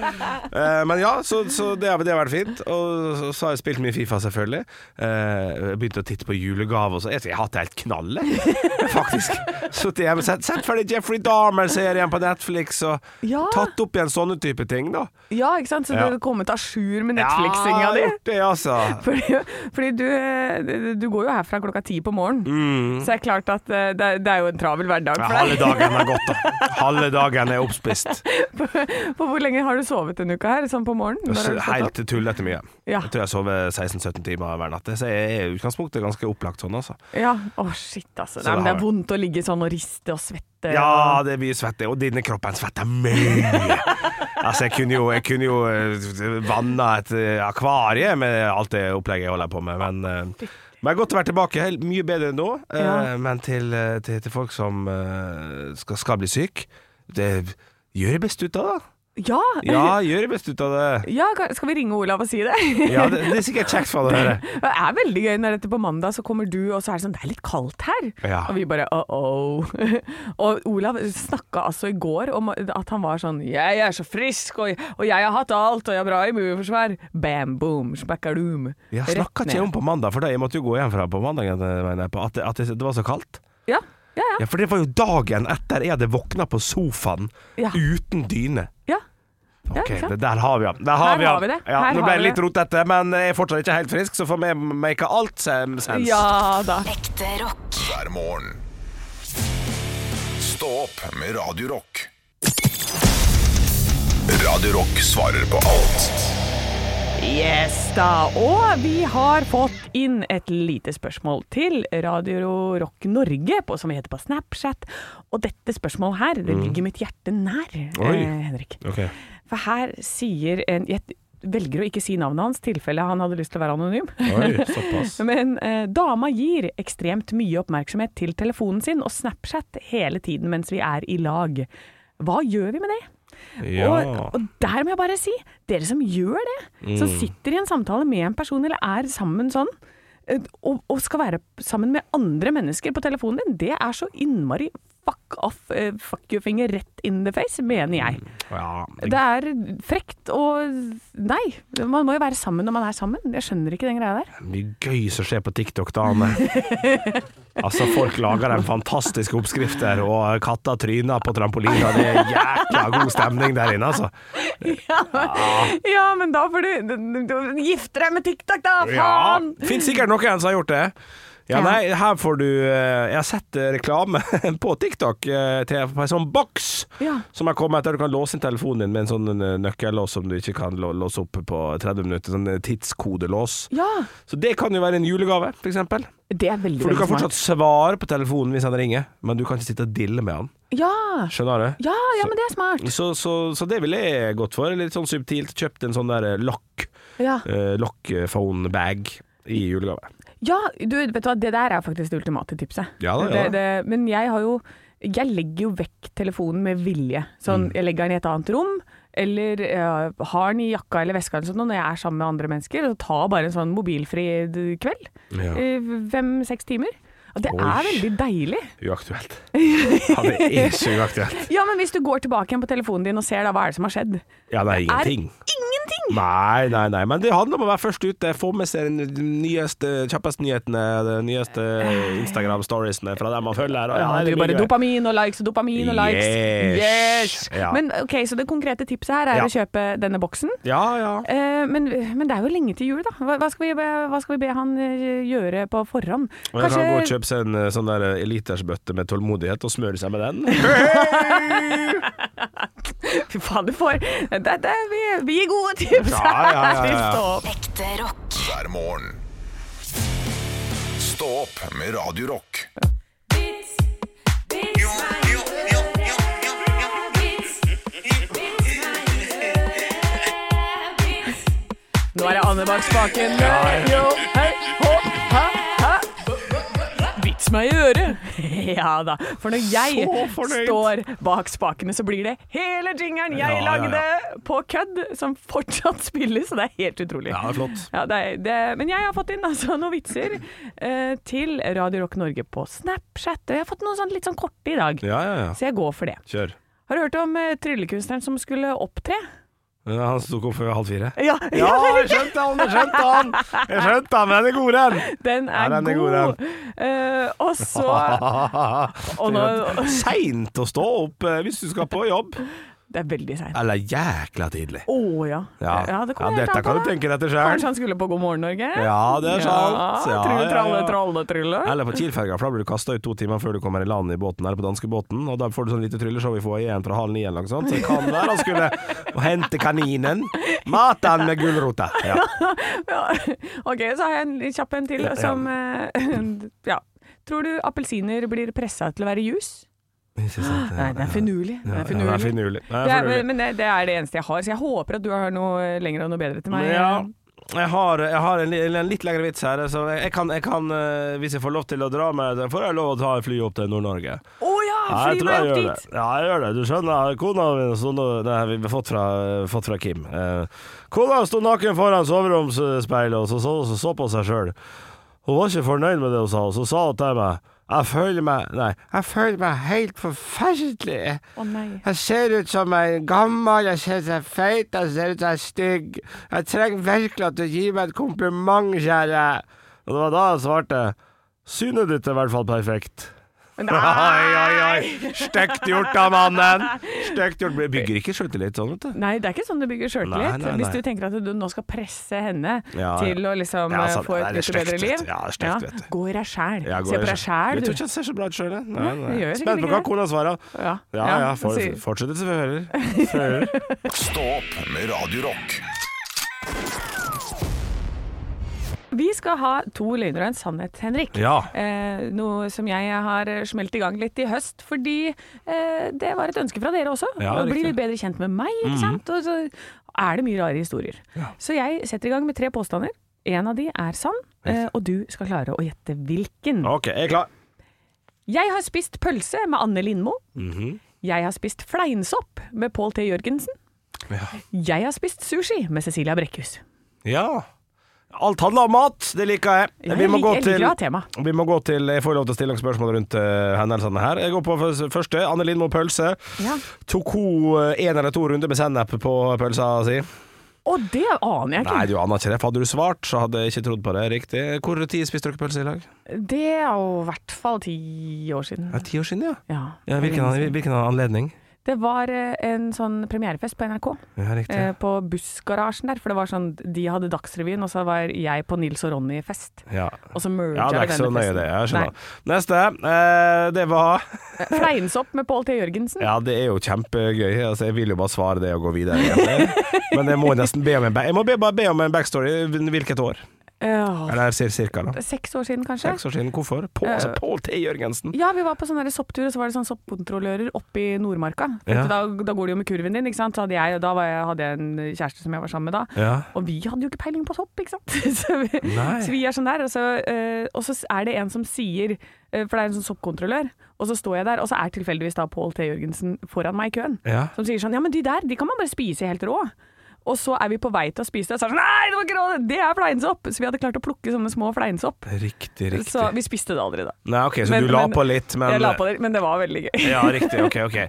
S5: Eh, Men ja, så, så det, har, det har vært fint. Og så, så har jeg spilt mye Fifa, selvfølgelig. Uh, begynte å titte på julegave og så. Jeg, jeg har hatt det helt
S3: *laughs*
S5: knall, jeg. faktisk. Sittet hjemme, sett, sett ferdig Jeffrey Dahmer-serien på Netflix og
S3: Ja.
S5: tatt opp igjen sånne type ting, da.
S3: Ja, ikke sant? Så
S5: Ja.
S3: du har kommet à jour med Netflixinga
S5: Ja,
S3: di? *laughs*
S5: gjort det, altså.
S3: Fordi, fordi du, øh, du går jo herfra klokka ti på morgenen, så det er klart at øh, det, er- det er jo en travel hverdag
S5: Mm. Ja,
S3: for
S5: halve
S3: deg.
S5: dagen er gått, da. Halve dagen er oppspist.
S3: *laughs* For hvor lenge har du sovet denne uka her, sånn på morgenen? Når har du stått opp?
S5: Helt tullete mye.
S3: Ja.
S5: Jeg tror jeg sover 16-17 timer hver natt. Så jeg er i utgangspunktet ganske opplagt sånn, altså.
S3: Ja, å shit altså.
S5: Så
S3: Nei, men
S5: det
S3: det
S5: har-
S3: er vondt å ligge sånn og riste og svette.
S5: Ja,
S3: og-
S5: det blir svette, og denne kroppen svetter
S3: *laughs*
S5: mye. Altså, jeg kunne jo, jeg kunne jo eh, vanna et eh, akvarie med alt det opplegget jeg holder på med, men eh, men godt å være tilbake. Helt Mye bedre enn nå. eh,
S3: Ja.
S5: Men til, eh, til, til folk som eh, skal, skal bli syk, det gjør det best ut av det.
S3: Ja!
S5: Ja, gjør det best ut av det.
S3: *laughs* Ja, ka- skal vi ringe Olav og si det? *laughs*
S5: Ja, det, det er sikkert kjekt for deg å høre.
S3: Det er veldig gøy når dette på mandag så kommer du, og så er det sånn Det er litt kaldt her.
S5: Ja.
S3: Og vi bare uh-oh. *laughs* og Olav snakka altså i går om at han var sånn Jeg er så frisk, og, og jeg har hatt alt, og jeg har bra immunforsvar. Bam, boom, smackaloom.
S5: Jeg
S3: Rett
S5: snakka
S3: ned.
S5: ikke om på mandag, for da jeg måtte jo gå hjem fra på mandag at, at, det, at det, det var så kaldt.
S3: Ja, ja, ja.
S5: Ja, for det var jo dagen etter jeg hadde våkna på sofaen
S3: Ja.
S5: uten dyne.
S3: ja. Ja,
S5: Ok,
S3: ikke sant?
S5: det der har vi han. Der har
S3: Her
S5: vi han.
S3: har vi det.
S5: Ja,
S3: Her
S5: nå
S3: har
S5: ble jeg
S3: vi
S5: litt rotete, men jeg er fortsatt ikke helt frisk, så for meg maker alt sem- sense.
S3: ja da.
S6: Ekte rock.
S2: hver morgen. Stå opp med Radio Rock. Radio Rock svarer på alt.
S3: Yes da, og vi har fått inn et lite spørsmål til Radio Rock Norge, på, som vi heter på Snapchat. Og dette spørsmålet her, det ligger mitt hjerte nær,
S5: Mm. Oi.
S3: eh, Henrik.
S5: Ok.
S3: For her sier en Jeg velger å ikke si navnet hans, tilfelle han hadde lyst til å være anonym.
S5: Oi,
S3: *laughs*
S5: såpass.
S3: Men eh, dama gir ekstremt mye oppmerksomhet til telefonen sin og Snapchat hele tiden mens vi er i lag. Hva gjør vi med det? Og,
S5: Ja.
S3: og der må jeg bare si, dere som gjør det, som
S5: Mm.
S3: sitter i en samtale med en person eller er sammen sånn, eh, og, og skal være sammen med andre mennesker på telefonen din, det er så innmari fuck off, eh, fuck you-finger rett in the face, mener jeg.
S5: ja.
S3: Det er frekt og Nei, man må jo være sammen når man er sammen. Jeg skjønner ikke den greia der.
S5: Mye gøy som skjer på TikTok, da,
S3: *laughs*
S5: Anne. Altså, folk lager de fantastiske oppskrifter, og katter tryner på trampoliner. Det er jækla god stemning der inne, altså.
S3: *laughs* Ja, men da får du, du, du gifte deg med TikTok, da!
S5: Ja,
S3: Faen!
S5: finnes sikkert noen som har gjort det. Ja,
S3: Ja.
S5: nei, her får du eh, Jeg har sett eh, reklame *laughs* på TikTok eh, til på en sånn boks
S3: Ja.
S5: som har kommet der du kan låse inn telefonen din med en sånn eh, nøkkellås som du ikke kan lå- låse opp på 30 minutter. Sånn eh, tidskodelås.
S3: Ja,
S5: Så det kan jo være en julegave, for eksempel.
S3: det er veldig,
S5: For du
S3: veldig
S5: kan
S3: smart.
S5: fortsatt svare på telefonen hvis han ringer, men du kan ikke sitte og dille med han.
S3: Ja.
S5: Skjønner du?
S3: Ja, ja, men det er smart.
S5: Så, så, så det ville jeg gått for. Litt sånn subtilt. Kjøpt en sånn der eh, lokk,
S3: Ja.
S5: eh, lokkphone-bag i julegave.
S3: Ja, du vet du hva, det der er faktisk det ultimate tipset.
S5: Ja da, ja da.
S3: Det, det, men jeg har jo Jeg legger jo vekk telefonen med vilje. Sånn,
S5: Mm.
S3: Jeg legger den i et annet rom, eller eh, har den i jakka eller veska eller sånn, og når jeg er sammen med andre mennesker. Og tar bare en sånn mobilfri d- kveld.
S5: Ja.
S3: Eh, Fem-seks timer. Og det
S5: Oi.
S3: er veldig deilig.
S5: Uaktuelt. Ja, det er ikke uaktuelt.
S3: Ja, men hvis du går tilbake igjen på telefonen din og ser da, hva er det som har skjedd?
S5: Ja, det er ingenting.
S3: Er ingenting!
S5: Nei, nei, nei. Men det handler om å være først ute. Få med seg de nyeste, kjappeste nyhetene, de nyeste Instagram-storiesene fra dem man følger.
S3: Ja, det
S5: det
S3: blir bare
S5: blir gøy.
S3: dopamin og likes og dopamin og likes.
S5: Yes. Ja.
S3: Men ok, så det konkrete tipset her er
S5: Ja.
S3: å kjøpe denne boksen.
S5: Ja, ja.
S3: Eh, men, men det er jo lenge til jul, da. Hva, hva, skal, vi be, hva skal vi be han eh, gjøre på forhånd?
S5: Man kan gå og
S3: Kanskje
S5: kjøpe seg en eh, sånn der eh, elitersbøtte med tålmodighet og smøre seg med den.
S3: Fy *laughs* faen, du får det, det, vi, vi gir gode tips!
S5: Ja, ja, ja,
S3: *laughs*
S5: ja.
S3: Fy faen.
S6: Ekte rock.
S2: hver morgen. Stå opp med Radio Rock.
S3: Nå er det Anne bak spaken. Jo, hei, hå, hæ, hæ. Vits meg i øret! *laughs* Ja da. For når jeg står bak spakene, så blir det hele jingeren jeg
S5: Ja, ja, ja.
S3: lagde på kødd, som fortsatt spilles. Og det er helt utrolig.
S5: Ja, det er flott.
S3: Ja, det er, det, men jeg har fått inn altså, noen vitser eh, til Radio Rock Norge på Snapchat. Og jeg har fått noen sånn, litt sånn korte i dag,
S5: Ja, ja, ja.
S3: så jeg går for det.
S5: Kjør.
S3: Har du hørt om eh, tryllekunstneren som skulle opptre?
S5: Ja, Han sto opp før halv fire.
S3: Ja,
S5: Ja, jeg skjønte han! Jeg skjønte han! Jeg skjønte han, men den er god, den!
S3: Den er,
S5: Ja, den er god,
S3: god. Eh, og
S5: *laughs*
S3: så og nå,
S5: Seint å stå opp eh, hvis du skal på jobb.
S3: Det er veldig seint. Å
S5: Eller jækla tidlig.
S3: ja. det kommer helt
S5: dette
S3: an på
S5: kan
S3: det.
S5: du tenke deg til
S3: Kanskje
S5: sjøl.
S3: han skulle på God morgen, Norge?
S5: Ja, det er sant.
S3: Ja,
S5: Ja,
S3: trylle,
S5: ja,
S3: tralle,
S5: ja.
S3: tralle, trylle.
S5: Eller på Kiel-ferga, for da blir du kasta ut to timer før du kommer i land i båten eller på danskebåten. Og da får du sånn lite trylleshow i foajeen fra halv ni eller noe sånt. Så det kan være han skulle hente kaninen. Mat den med gulrota. Ja.
S3: Ja. *laughs* Ok, så har jeg en litt kjapp en til
S5: Ja, ja.
S3: som eh, *laughs* Ja. Tror du appelsiner blir pressa til å være jus?
S5: Ikke sant?
S3: Nei, det er finurlig. Det er
S5: Ja, det er
S3: finurlig.
S5: finurlig. Det
S3: Det
S5: er
S3: er,
S5: finurlig.
S3: men det, det er det eneste jeg har, så jeg håper at du har noe lenger og noe bedre til meg. eh.
S5: Ja. Jeg har, jeg har en, li- en litt lengre vits her. Så jeg, jeg, kan, jeg kan, eh, hvis jeg får lov til å dra med den, får jeg lov å ta et fly opp til Nord-Norge.
S3: Å ja!
S5: Ja, jeg
S3: Fly
S5: tror
S3: meg
S5: jeg
S3: opp
S5: gjør
S3: dit!
S5: Det. Ja, jeg gjør det. Du skjønner, kona mi sto nå Det har vi fått fra, fått fra Kim. Eh, kona sto naken foran soveromsspeilet og så, så, så, så på seg sjøl. Hun var ikke fornøyd med det hun sa, og så sa hun til meg jeg føler meg Nei, jeg føler meg helt forferdelig.
S3: Å nei.
S5: Jeg ser ut som jeg er gammel, jeg ser ut som jeg er feit, jeg ser ut som jeg er stygg. Jeg trenger virkelig at du gir meg et kompliment, kjære. Og det var da jeg svarte. Synet ditt er i hvert fall perfekt. *laughs*
S3: Nei,
S5: Oi, oi, oi! Stygt gjort av mannen! Stygt gjort. Bygger ikke sjøltillit sånn, vet du.
S3: Nei, det er ikke sånn du bygger
S5: Nei,
S3: sjøltillit.
S5: nei,
S3: Hvis
S5: nei.
S3: du tenker at du nå skal presse henne
S5: Ja, ja.
S3: til å liksom
S5: Ja,
S3: eh,
S5: sant,
S3: få
S5: det
S3: et
S5: er
S3: litt
S5: stygt,
S3: bedre
S5: vet
S3: liv.
S5: du. Ja, det er stygt, vet du.
S3: gå i deg sjæl.
S5: Jeg går-
S3: Se på deg sjæl,
S5: Jeg tror
S3: du.
S5: ikke jeg ser så bra ut sjøl, jeg. Nei,
S3: Nei,
S5: nei.
S3: jeg gjør
S5: Spent på
S3: ikke
S5: hva
S3: det.
S5: kona svarer.
S3: Ja,
S5: Ja, ja,
S3: ja,
S5: for,
S3: sier-
S5: fortsetter som
S3: *laughs*
S5: fører.
S2: Stå opp med Radio Rock.
S3: Vi skal ha to løgner og en sannhet, Henrik.
S5: Ja.
S3: Eh, noe som jeg har smelt i gang litt i høst, fordi eh, det var et ønske fra dere også.
S5: Ja,
S3: å bli
S5: riktig. Mhm.
S3: litt bedre kjent med meg, ikke sant. Og så er det mye rare historier. Så jeg setter i gang med tre påstander. En av de er sann, eh, og du skal klare å gjette hvilken.
S5: OK, jeg er klar.
S3: Jeg har spist pølse med Anne Lindmo.
S5: Mhm.
S3: Jeg har spist fleinsopp med Pål T. Jørgensen. Jeg har spist sushi med Cecilia Brekkhus.
S5: Ja. Alt handler om mat, det liker jeg.
S3: Jeg
S5: vi, må
S3: liker-
S5: gå
S3: jeg liker
S5: til,
S3: å ha tema.
S5: vi må gå til Jeg får lov til å stille noen spørsmål rundt eh, hendelsene her. Jeg går på f- første. Anne Lindmo pølse.
S3: Ja.
S5: Tok hun eh, en eller to runder med sennep på pølsa si?
S3: Og det aner jeg ikke.
S5: Nei, du aner ikke det. For hadde du svart, så hadde jeg ikke trodd på det riktig. Hvor tid spiste dere pølse i dag?
S3: Det er jo i hvert fall ti år siden.
S5: Ja, Ti år siden, ja.
S3: Ja,
S5: ja hvilken, hvilken
S3: altså.
S5: anledning?
S3: Det var eh, en sånn premierefest på NRK,
S5: Ja, riktig.
S3: eh, på bussgarasjen der. For det var sånn, de hadde Dagsrevyen, og så var jeg på Nils og Ronny-fest.
S5: Ja.
S3: Og så merger
S5: ja, det er
S3: vi
S5: ikke
S3: denne
S5: så nøye
S3: festen.
S5: det. Jeg skjønner.
S3: Nei.
S5: Neste. Eh, det var
S3: Fleinsopp med Pål T. Jørgensen.
S5: Ja, det er jo kjempegøy. Altså, jeg vil jo bare svare det og gå videre. igjen. Men jeg må nesten be om en, ba- jeg må be, bare be om en backstory. Hvilket år?
S3: Åh,
S5: Eller cir- cirka, da.
S3: Eh, seks år siden, kanskje?
S5: Seks år siden. Hvorfor? På,
S3: Eh.
S5: altså, Pål T. Jørgensen.
S3: Ja, vi var på sånn der sopptur, og så var det sånn soppkontrollører oppe i Nordmarka. For
S5: Ja.
S3: at da, da går det jo med kurven din, ikke sant. Så hadde jeg, da var jeg, hadde jeg en kjæreste som jeg var sammen med da.
S5: Ja.
S3: Og vi hadde jo ikke peiling på sopp, ikke sant. *laughs* Så vi,
S5: Nei.
S3: så vi er sånn der, og så, eh, og så er det en som sier eh, For det er en sånn soppkontrollør, og så står jeg der, og så er tilfeldigvis da Pål T. Jørgensen foran meg i køen.
S5: Ja.
S3: Som sier sånn Ja, men de der, de kan man bare spise helt rå. Og så er vi på vei til å spise det, og så er det sånn Nei, det var ikke rå, det er fleinsopp! Så vi hadde klart å plukke sånne små fleinsopp.
S5: Riktig, riktig.
S3: Så vi spiste det aldri, da.
S5: Nei, OK, så du la på litt, men
S3: Jeg la på det, men det var veldig gøy.
S5: Ja, riktig. Ok, ok.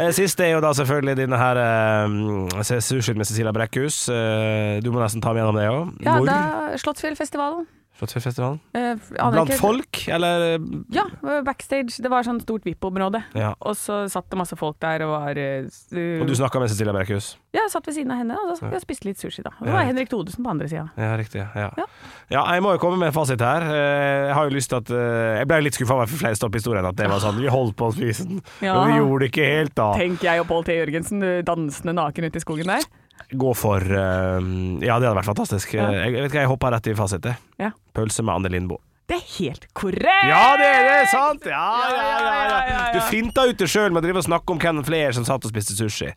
S5: Eh, Siste er jo da selvfølgelig dine her eh, se- sushien med Cecilia Brekkhus. Eh, Du må nesten ta meg gjennom det òg.
S3: Ja,
S5: Når?
S3: da Slottsfjellfestivalen.
S5: Slottsfjellfestivalen?
S3: Eh, aner
S5: Blant
S3: ikke-
S5: folk, eller?
S3: Ja, backstage. Det var sånn stort VIP-område.
S5: Ja.
S3: Og så satt det masse folk der og var eh, s-
S5: Og du snakka med Cecilia Brekkhus?
S3: Ja, jeg satt ved siden av henne, og så vi og spiste litt sushi, da. Og det
S5: Ja.
S3: var Henrik Thodesen på andre sida.
S5: Ja, riktig. Ja.
S3: Ja.
S5: Ja. jeg må jo komme med en fasit her. Eh, Jeg har jo lyst til at eh, Jeg ble litt skuffa over flere stopp i historien at det var sånn. Vi holdt på å spise den,
S3: Ja.
S5: men vi gjorde det ikke helt da.
S3: Tenker jeg og Pål T. Jørgensen eh, dansende naken ute i skogen der.
S5: Gå for eh, Ja, det hadde vært fantastisk. Eh,
S3: Ja.
S5: Jeg, jeg vet ikke, jeg hoppa rett i fasit. jeg.
S3: Ja.
S5: Pølse med Anne Lindboe.
S3: Det er helt korrekt!
S5: Ja, det er det er sant! Ja, ja, ja, ja,
S3: Ja, ja, ja, ja.
S5: Du finta ut det sjøl med å drive og snakke om Ken Flair som satt og spiste sushi.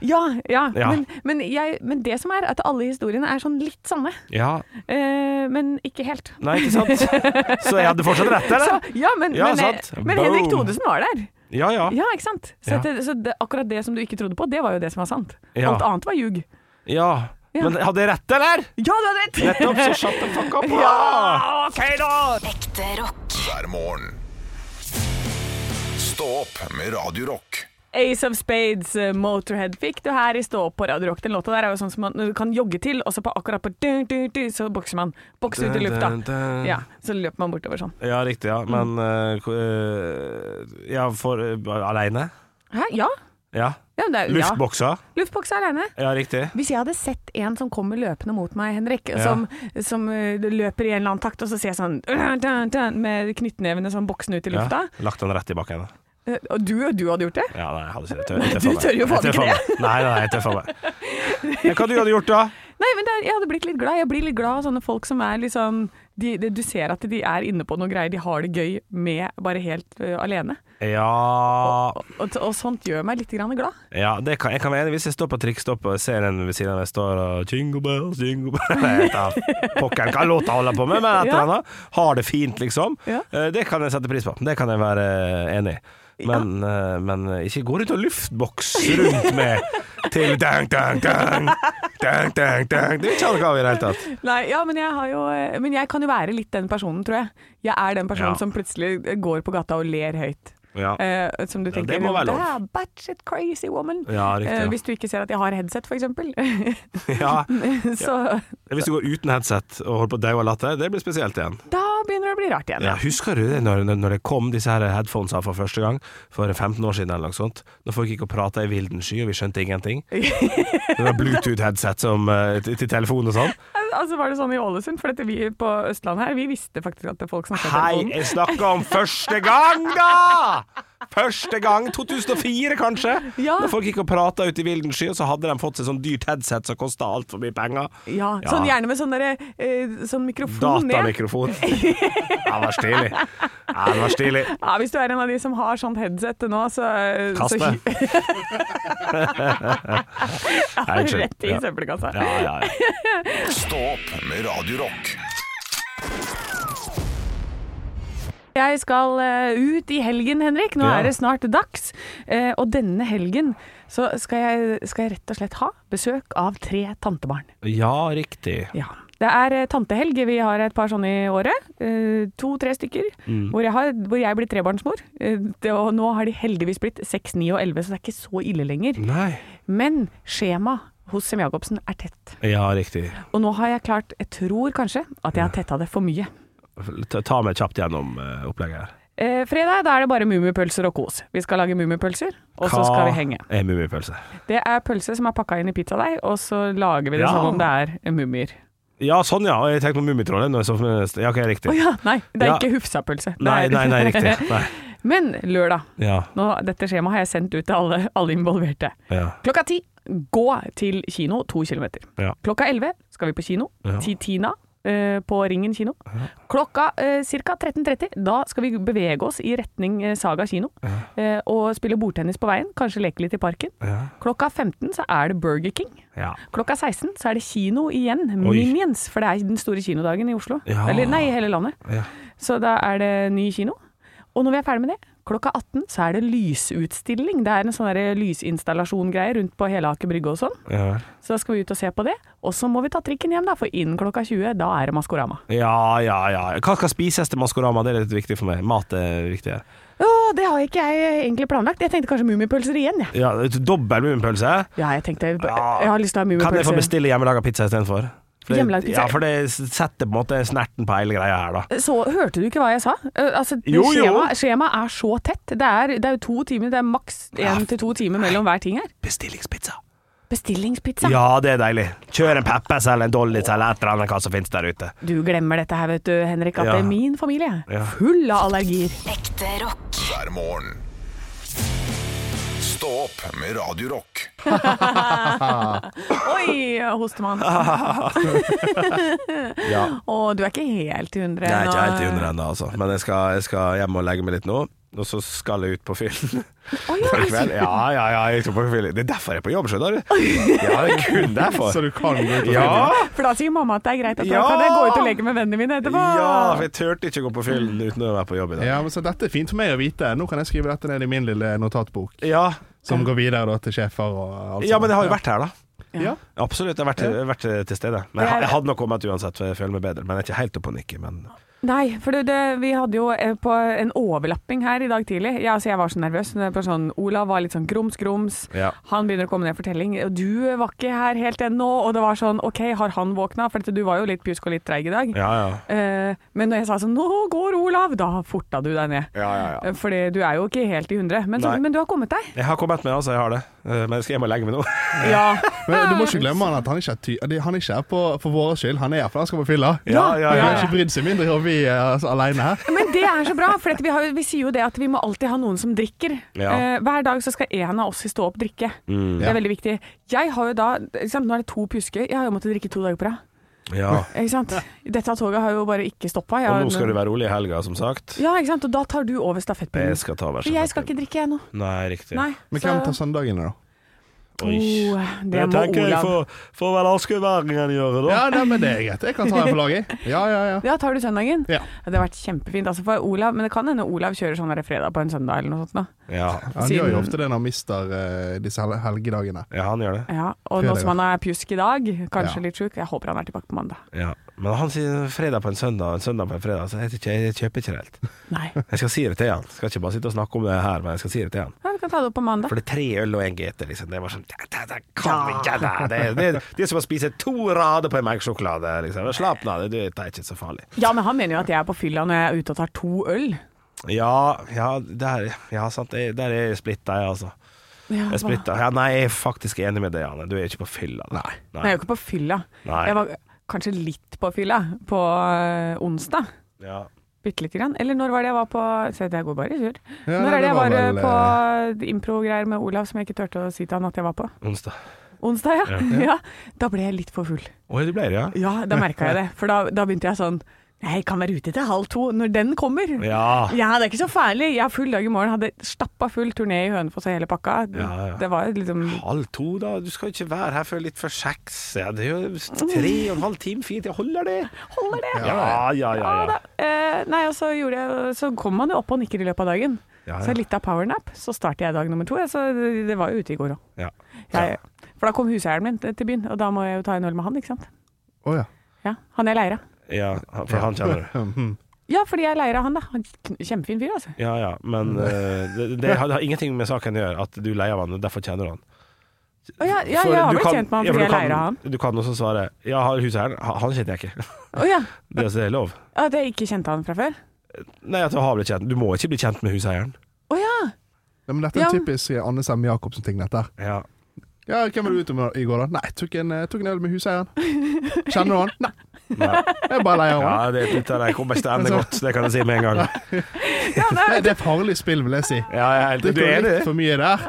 S3: Ja, ja.
S5: Ja.
S3: Men, men, jeg, men det som er, at alle historiene er sånn litt sanne.
S5: Ja,
S3: Eh, men ikke helt.
S5: Nei, ikke sant? Så jeg hadde fortsatt
S3: *laughs*
S5: rett,
S3: Så,
S5: eller?
S3: ja, men,
S5: Ja,
S3: men, eh,
S5: sant.
S3: men Henrik
S5: Boom.
S3: Thodesen var der.
S5: Ja, ja.
S3: Ja, ikke sant? Så,
S5: Ja.
S3: at det, så det, akkurat det som du ikke trodde på, det var jo det som var sant.
S5: Ja.
S3: Alt annet var ljug.
S5: ja.
S3: Ja.
S5: Men hadde jeg rett, eller?
S3: Ja, du hadde rett!
S5: Nettopp, så shut the fuck up.
S3: *laughs* Ja,
S5: Ah!
S3: ok da!
S6: Ekte rock.
S2: hver morgen. Stå opp med Radio Rock.
S3: Ace of Spades, eh, Motorhead fikk du her i Stå opp på Radio Rock. Den låta der er jo sånn som man du kan jogge til, og så på akkurat på dun, dun, dun, Så bokser man. Bokser ut i lufta. Ja, Mm. så løper man bortover sånn.
S5: Ja, riktig, ja. Men eh, ko- eh, Ja, for uh, aleine?
S3: Hæ? Ja?
S5: Ja.
S3: ja, men det er, ja.
S5: Luftboksa?
S3: Luftboks er aleine.
S5: Ja, riktig.
S3: Hvis jeg hadde sett en som kommer løpende mot meg, Henrik, som, som eh, løper i en eller annen takt, og så ser jeg sånn dun, dun, dun, med knyttnevene sånn boksende ut i lufta,
S5: Ja. Lagt den rett i bakken.
S3: Eh, Og du, du hadde gjort det?
S5: Ja, nei, jeg hadde ikke det. Tø-
S3: Du
S5: jeg tøffer meg.
S3: tør jo faen
S5: Jeg tøffer
S3: ikke
S5: meg. Nei, nei, jeg tøffer meg. Men Hva du hadde gjort da?
S3: Nei, men det, er- jeg hadde blitt litt glad. Jeg blir litt glad av sånne folk som er liksom de, de, Du ser at de er inne på noe greier. De har det gøy med bare helt ø, alene.
S5: Ja
S3: Og, og, og sånt gjør meg litt grann glad.
S5: Ja, det kan, jeg kan være enig hvis jeg står på trikkstopp og ser en ved siden av meg står og Jingle bells, jingle bells *laughs* Jeg vet da pokker hva låta holder på med, men et eller
S3: Ja.
S5: annet. Har det fint, liksom.
S3: Ja.
S5: Eh, Det kan jeg sette pris på. Det kan jeg være enig i. Men, eh, men ikke gå rundt og luftboks rundt med til dang, dang, dang. Dang, dang, dang. Det er ikke alle i det hele tatt.
S3: Nei, ja, men jeg, har jo, ø, men jeg kan jo være litt den personen, tror jeg. Jeg er den personen
S5: Ja.
S3: som plutselig går på gata og ler høyt.
S5: Ja.
S3: Eh, som du
S5: Ja, det
S3: tenker
S5: må være lov.
S3: "Ah, batshit crazy woman.
S5: Ja, riktig,
S3: Eh,
S5: ja.
S3: hvis du ikke ser at jeg har headset, for eksempel. *laughs*
S5: ja.
S3: så
S5: Hvis du går uten headset og holder på å daue av latter, det blir spesielt igjen.
S3: da begynner det å bli rart igjen.
S5: Ja, husker du det når, når det kom disse her headphonesa for første gang, for 15 år siden eller noe sånt? Når folk gikk og prata i vilden sky, og vi skjønte ingenting. Det var Bluetooth-headset som, eh, til til telefon og sånn.
S3: Altså var det sånn i Ålesund, for dette vi på Østlandet her, vi visste faktisk at folk snakket
S5: Hei, jeg snakker om første gang, da! Første gang, 2004 kanskje?
S3: Ja.
S5: Når folk gikk og prata ute i vilden sky, og så hadde de fått seg sånn dyrt headset som kosta altfor mye penger.
S3: Ja,
S5: Ja.
S3: sånn gjerne med sånn, derre, eh, sånn mikrofon ned.
S5: Datamikrofon. Ja, det var stilig. Ja, det var stilig.
S3: Ja, hvis du er en av de som har sånt headset nå, så eh,
S5: Kast
S3: *laughs* så-
S5: det.
S3: Ja,
S5: Nei, unnskyld.
S3: rett i
S5: Ja.
S3: søppelkassa.
S5: Ja, ja, ja.
S2: Stå opp med Radio Rock.
S3: Jeg skal eh, ut i helgen, Henrik. Nå
S5: Ja.
S3: er det snart dags. Eh, og denne helgen så skal jeg, skal jeg rett og slett ha besøk av tre tantebarn.
S5: ja, riktig.
S3: Ja. Det er eh, tantehelg. Vi har et par sånne i året. Eh, To-tre stykker.
S5: Mm.
S3: Hvor, jeg har, hvor jeg blir trebarnsmor. Eh, det, og nå har de heldigvis blitt seks, ni og elleve, så det er ikke så ille lenger.
S5: Nei.
S3: Men skjemaet hos Sem-Jacobsen er tett.
S5: Ja, riktig.
S3: Og nå har jeg klart, jeg tror kanskje, at jeg har tetta det for mye.
S5: Ta ta meg kjapt gjennom eh, opplegget her.
S3: Eh, fredag da er det bare mummipølser og kos. Vi skal lage mummipølser, og så skal vi henge.
S5: Hva er mummipølse?
S3: Det er pølse som er pakka inn i pizzadeig, og så lager vi det
S5: Ja.
S3: som om det er mummier.
S5: Ja, sånn ja. Og Jeg tenkte på Mummitrollet. når jeg så for meg- Ja, ok, riktig.
S3: Å ja, nei, det er
S5: Ja.
S3: ikke Hufsa-pølse. Det
S5: Nei,
S3: er-
S5: nei, nei, riktig. Nei.
S3: *laughs* Men lørdag.
S5: Ja,
S3: Nå, dette skjemaet har jeg sendt ut til alle, alle involverte.
S5: ja,
S3: Klokka ti gå til kino to kilometer.
S5: Ja.
S3: Klokka elleve skal vi på kino.
S5: Ja.
S3: Titina eh, på Ringen kino. Klokka eh, ca. 13.30 da skal vi bevege oss i retning eh, Saga kino. eh, og spille bordtennis på veien, kanskje leke litt i parken.
S5: ja.
S3: Klokka 15 så er det Burger King.
S5: ja.
S3: Klokka 16 så er det kino igjen.
S5: Oi.
S3: Minions, for det er den store kinodagen i Oslo.
S5: Ja.
S3: Eller nei, i hele landet.
S5: Ja.
S3: Så da er det ny kino. Og når vi er ferdig med det, klokka 18 så er det lysutstilling. Det er en sånn der lysinstallasjongreie rundt på hele Aker Brygge og sånn.
S5: Ja, vel.
S3: Så da skal vi ut og se på det. Og så må vi ta trikken hjem, da, for innen klokka 20, da er det Maskorama.
S5: ja, ja, ja. Hva skal spises til Maskorama? Det er litt viktig for meg. Mat er viktig her.
S3: Å, det har ikke jeg egentlig planlagt. Jeg tenkte kanskje mummipølser igjen, jeg.
S5: Ja, et Dobbel mummipølse?
S3: Ja, jeg tenkte jeg
S5: Ja.
S3: har lyst til å ha
S5: Kan jeg få
S3: mummipølser.
S5: bestille hjemmelaga pizza istedenfor? For det-
S3: Hjemmelagd pizza?
S5: Ja, for det setter på en måte snerten på hele greia her, da.
S3: Så hørte du ikke hva jeg sa? Eh, Altså, det
S5: Jo, jo.
S3: skjema, skjemaet er så tett. Det er, det er jo to timer, det er maks én til to timer mellom hver ting her.
S5: Bestillingspizza.
S3: Bestillingspizza.
S5: Ja, det er deilig. Kjør en Peppes eller en Dollys eller et eller annet hva som finnes der ute.
S3: Du glemmer dette her, vet du, Henrik, at
S5: Ja.
S3: det er min familie.
S5: Ja.
S3: Full av allergier.
S6: Ekte rock.
S2: hver morgen. Stå opp med Radio Rock.
S3: Oi, hostemann.
S5: Ja.
S3: Å, du er ikke helt i hundre
S5: Jeg er
S3: nå.
S5: ikke helt i hundre ennå, altså. Men jeg skal, jeg skal hjem og legge meg litt nå. Og så skal jeg ut på fyllen. *laughs*
S3: Å, ja,
S5: I kveld. Ja, ja, ja. Jeg tror på fyllen. Det er derfor jeg er på jobb, skjønner du. Ja, det er kun
S4: Så
S5: derfor.
S4: du kan gå ut og
S5: Ja!
S3: For da sier mamma at det er greit at
S5: Ja.
S3: da kan jeg gå ut og leke med vennene mine etterpå.
S5: Ja, for jeg turte ikke å gå på fyllen uten å være på jobb i dag.
S4: Ja, men så Dette er fint for meg å vite. Nå kan jeg skrive dette ned i min lille notatbok,
S5: Ja,
S4: som går videre da til sjefer og alt
S5: ja men jeg har jo
S4: sånt.
S5: vært her, da.
S4: Ja.
S5: Absolutt. Jeg har vært, vært til stede. Men jeg, jeg hadde nok kommet uansett, for jeg føler meg bedre. Men jeg er ikke helt oppe og nikker. Men
S3: Nei, for det, det, vi hadde jo eh, på en overlapping her i dag tidlig. Ja, altså jeg var så nervøs. når jeg var Sånn, Olav var litt sånn grums-grums.
S5: Ja.
S3: Han begynner å komme ned i fortelling. Og du var ikke her helt ennå. Og det var sånn OK, har han våkna? For dette, du var jo litt pjusk og litt treig i dag.
S5: ja, ja.
S3: Eh, men når jeg sa sånn 'nå går Olav', da forta du deg ned.
S5: Ja, ja, ja.
S3: Eh, Fordi du er jo ikke helt i hundre. Men, så,
S5: Nei.
S3: men du har kommet deg.
S5: Jeg har kommet med, altså. Jeg har det. Eh, Men jeg skal hjem og legge *laughs* meg nå.
S3: Ja.
S4: Men du må ikke glemme han at han ikke er, ty de- han ikke er på, for vår skyld. Han er her for han skal på fylla.
S5: Ja, ja,
S4: Han
S5: ja.
S4: har ikke brydd seg mindre om vi er altså, alene her.
S3: Men det er så bra, for at vi, har, vi sier jo det at vi må alltid ha noen som drikker.
S5: Ja. Mm.
S3: Eh, hver dag så skal en av oss i stå opp drikke. Det er
S4: Ja.
S3: veldig viktig. Jeg har jo da, ikke sant, Nå er det to pjusker. Jeg har jo måttet drikke to dager på rad.
S5: Ja.
S3: Ikke sant? Dette toget har jo bare ikke stoppa.
S5: Og nå skal du være rolig i helga, som sagt.
S3: Ja, ikke sant? Og da tar du over stafettpinnen.
S5: Jeg skal ta hver
S3: For jeg skal ikke drikke, jeg nå.
S5: Nei, riktig.
S3: Nei.
S4: Men hvem tar søndagene, da?
S5: Oi.
S3: Oh, det må Olav.
S5: får vel askeværingen gjøre,
S4: Ja, nei, men det er greit. Jeg kan ta en på laget. Ja, ja, ja.
S3: Ja, tar du søndagen?
S4: Ja.
S3: Det har vært kjempefint. Altså for Olav, men det kan hende Olav kjører sånn der fredag på en søndag eller noe sånt. Da.
S5: Ja.
S4: Han gjør
S3: Siden-
S4: jo ofte det når han mister eh, disse hel- helgedagene.
S5: ja, han gjør det.
S3: Ja, og nå
S4: Fredag,
S3: som han er pjusk i dag, kanskje
S4: Ja.
S3: litt sjuk, jeg håper han er tilbake på mandag.
S5: Ja. Men han sier fredag på en søndag, en søndag på en fredag. Så jeg, vet ikke, jeg kjøper ikke det helt.
S3: Nei.
S5: Jeg skal si det til han. Skal ikke bare sitte og snakke om det her, men jeg skal si det til han.
S3: Ja, vi kan ta det opp på mandag.
S5: For det er tre øl og en GT, liksom. Det var sånn "Ja, ja, ja, Kom igjen, da! Det, er- det, er- det er som å spise to rader på en melkesjokolade, liksom. Slapp nå av, det, det er ikke så farlig.
S3: Ja, men han mener jo at jeg er på fylla når jeg er ute og tar to øl.
S5: Ja, ja, der, ja sant. Jeg- Der er jeg splitta, jeg, altså.
S3: Ja,
S5: Jeg er splitta. Ja, nei, jeg er faktisk enig med deg, Anne. Du er ikke på fylla. da.
S3: Nei, jeg er jo ikke på fylla.
S5: Nei.
S3: Jeg var kanskje litt på fylla på øh, onsdag.
S5: Ja.
S3: Bitte lite grann. Eller når var det jeg var på Se, jeg går bare i surr.
S4: Ja,
S3: når
S4: nei,
S3: er det jeg var, øh,
S4: vel,
S3: på
S4: eh,
S3: øh, impro-greier med Olav som jeg ikke turte å si til han at jeg var på?
S5: Onsdag.
S3: Onsdag, ja. *laughs* ja. Da ble jeg litt for full.
S5: Oi, du ble det, ja?
S3: Ja, da merka jeg det. For da, da begynte jeg sånn Jeg kan være ute til halv to når den kommer.
S5: Ja.
S3: Ja, det er ikke så farlig. Jeg har full dag i morgen. Hadde stappa full turné i Hønefoss og hele pakka.
S5: Ja, ja.
S3: Det var liksom
S5: Halv to, da? Du skal jo ikke være her før litt før seks. Ja, det er jo tre og en halv time, fint. Jeg holder det.
S3: Holder det?
S5: Ja, ja, ja.
S3: Ja,
S5: ja.
S3: da. Eh, nei, og så, gjorde jeg, så kom man jo opp og nikker i løpet av dagen.
S5: Ja, ja.
S3: Så litt av powernap, så starter jeg dag nummer to. Så det, det var jo ute i går òg.
S5: ja.
S3: For da kom huseieren min til byen, og da må jeg jo ta en øl med han, ikke sant.
S4: Å ja.
S3: Ja, Han jeg leier av.
S5: ja for han kjenner du.
S3: Ja, fordi jeg leier av han, da. Han, kjempefin fyr, altså.
S5: Ja, ja.
S3: *laughs*
S5: Men eh, det, det, har, det har ingenting med saken å gjøre at du leier av han, og derfor kjenner du han.
S3: Å, ja, ja,
S5: For
S3: jeg har
S5: du
S3: blitt
S5: kan-
S3: kjent med han
S5: ja, for
S3: fordi
S5: du
S3: jeg leier av
S5: kan-
S3: han.
S5: Du kan også svare ja, har huseieren. Ha- Han kjente jeg ikke.
S3: Å ja.
S5: Det er også lov.
S3: At jeg ikke kjente han fra før?
S5: Nei, at du har blitt kjent. Du må ikke bli kjent med huseieren.
S3: Å ja.
S4: Nei, men dette er en
S3: Ja.
S4: typisk Anne Sem Jacobsen-ting, dette her.
S5: Ja.
S4: Ja, hvem var du ute med i går, da? Nei, jeg tok en, eh, tok en øl med huseieren. Kjenner du han? Nei,
S5: Nei.
S4: jeg er bare leier av han.
S5: Ja, det, dette der kommer ikke til å *laughs* ende godt, det kan jeg si med en gang.
S4: Det, det er farlig spill, vil jeg si.
S5: Ja, jeg er helt, du
S4: Drikker
S5: er
S4: litt
S5: enig?
S4: for mye der,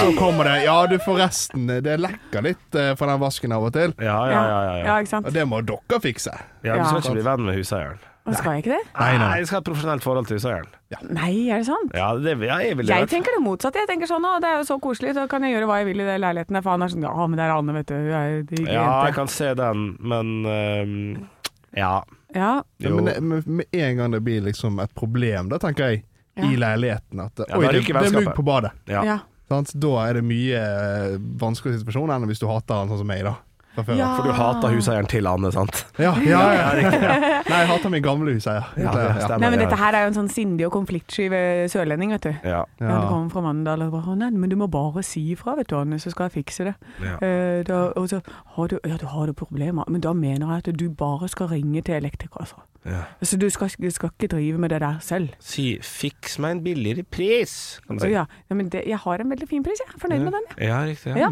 S4: så kommer det Ja, du, forresten, det lekker litt eh, fra den vasken av og til.
S5: Ja, ja, ja. ja, ja.
S3: ikke sant.
S4: Og det må dere fikse.
S5: ja du skal
S3: Ja.
S5: ikke bli venn med huseieren.
S3: Og skal jeg ikke det?
S5: Nei, jeg skal ha et profesjonelt forhold til huseieren.
S3: Nei, er det sant?
S5: Ja, det, ja jeg vil
S3: Jeg
S5: det.
S3: tenker det motsatte. Jeg tenker sånn, å, det er jo så koselig, så kan jeg gjøre hva jeg vil i den leiligheten. der», For han er sånn, ja, men det er Anne, vet du. Hun er jo en hyggelig
S5: Ja, jeg
S3: jente.
S5: kan se den, men ehm, Ja.
S3: Ja,
S4: Ja,
S5: Jo.
S4: men det, med, med en gang det blir liksom et problem, da tenker jeg,
S3: Ja.
S4: i leiligheten at
S5: Ja,
S4: Oi,
S5: da
S4: det,
S5: ryker
S4: det er mugg
S5: vennskapet.
S4: på badet.
S5: ja.
S3: ja.
S4: Sant? Da er det mye eh, vanskeligere situasjon enn hvis du hater han sånn som meg, da. Fra før.
S3: Ja.
S5: For du hater huseieren til Anne, sant?
S4: Ja, ja, ja,
S3: *laughs*
S4: Nei, jeg hater min gamle huseier.
S5: Ja,
S4: Ja,
S5: *laughs* det
S4: ja.
S5: stemmer.
S3: Nei, men dette her er jo en sånn sindig og konfliktsky ved sørlending, vet du.
S5: Ja.
S3: Ja. Du kommer fra Mandal og bare «Å, 'Nei, men du må bare si ifra, vet du, Anne, så skal jeg fikse det'.
S5: Ja.
S3: Eh, da, og så har du, ja, du har du problemer, men da mener jeg at du bare skal ringe til elektriker, altså.
S5: Ja.
S3: Så du skal, du skal ikke drive med det der selv.
S5: Si 'fiks meg en billigere pris', kan du
S3: Så
S5: si.
S3: ja, ja, men det, jeg har en veldig fin pris, jeg. er Fornøyd med den, jeg.
S5: Ja, riktig.
S3: Ja.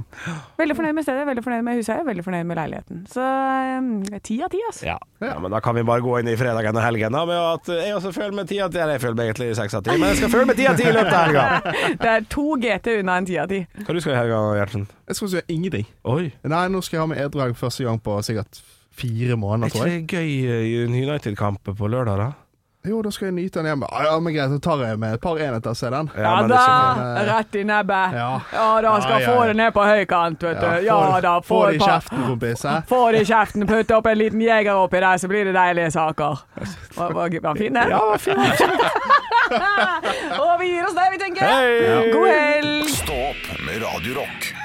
S3: Veldig fornøyd med stedet, veldig fornøyd med huseier, veldig fornøyd med leiligheten. Så eh, ti av ti, altså.
S5: Ja. ja, men da kan vi bare gå inn i fredagen og helgen da, med at jeg også føler meg ti av ti. Eller, Jeg føler meg egentlig seks av ti, men jeg skal føle meg ti av ti i løpet av helga.
S3: *laughs* Det er to GT unna en ti av ti.
S5: Hva du skal i helga, Gjertsen?
S4: Jeg skal gjøre ingenting.
S5: Oi.
S4: Nei, nå skal jeg ha med edru helg første gang på sikkert fire
S5: Er
S4: måneder, tror
S5: ikke
S4: jeg.
S5: det gøy eh, i en United-kamp på lørdag, da?
S4: Jo, da skal jeg nyte den hjemme. Ja, men greit, da tar jeg med et par enheter og ser den.
S5: Ja,
S3: Ja,
S5: men det
S3: da,
S5: er
S4: ikke-
S3: rett i nebbet.
S4: Ja.
S3: Ja. da skal
S4: Ja, ja,
S3: få
S4: ja.
S3: det ned på høykant, vet du. Ja,
S4: få-
S3: da,
S4: få det
S3: et
S4: i
S3: par-
S4: kjeften, kompis.
S3: *laughs*
S4: eh. hæ?
S3: Få det i kjeften, putte opp en liten jeger oppi der, så blir det deilige saker. Var, var, var fin, det?
S5: Ja, fint.
S3: *laughs* Og vi gir oss der, vi tenker.
S5: Hei!
S3: God helg!
S2: Stå opp med Radio Rock.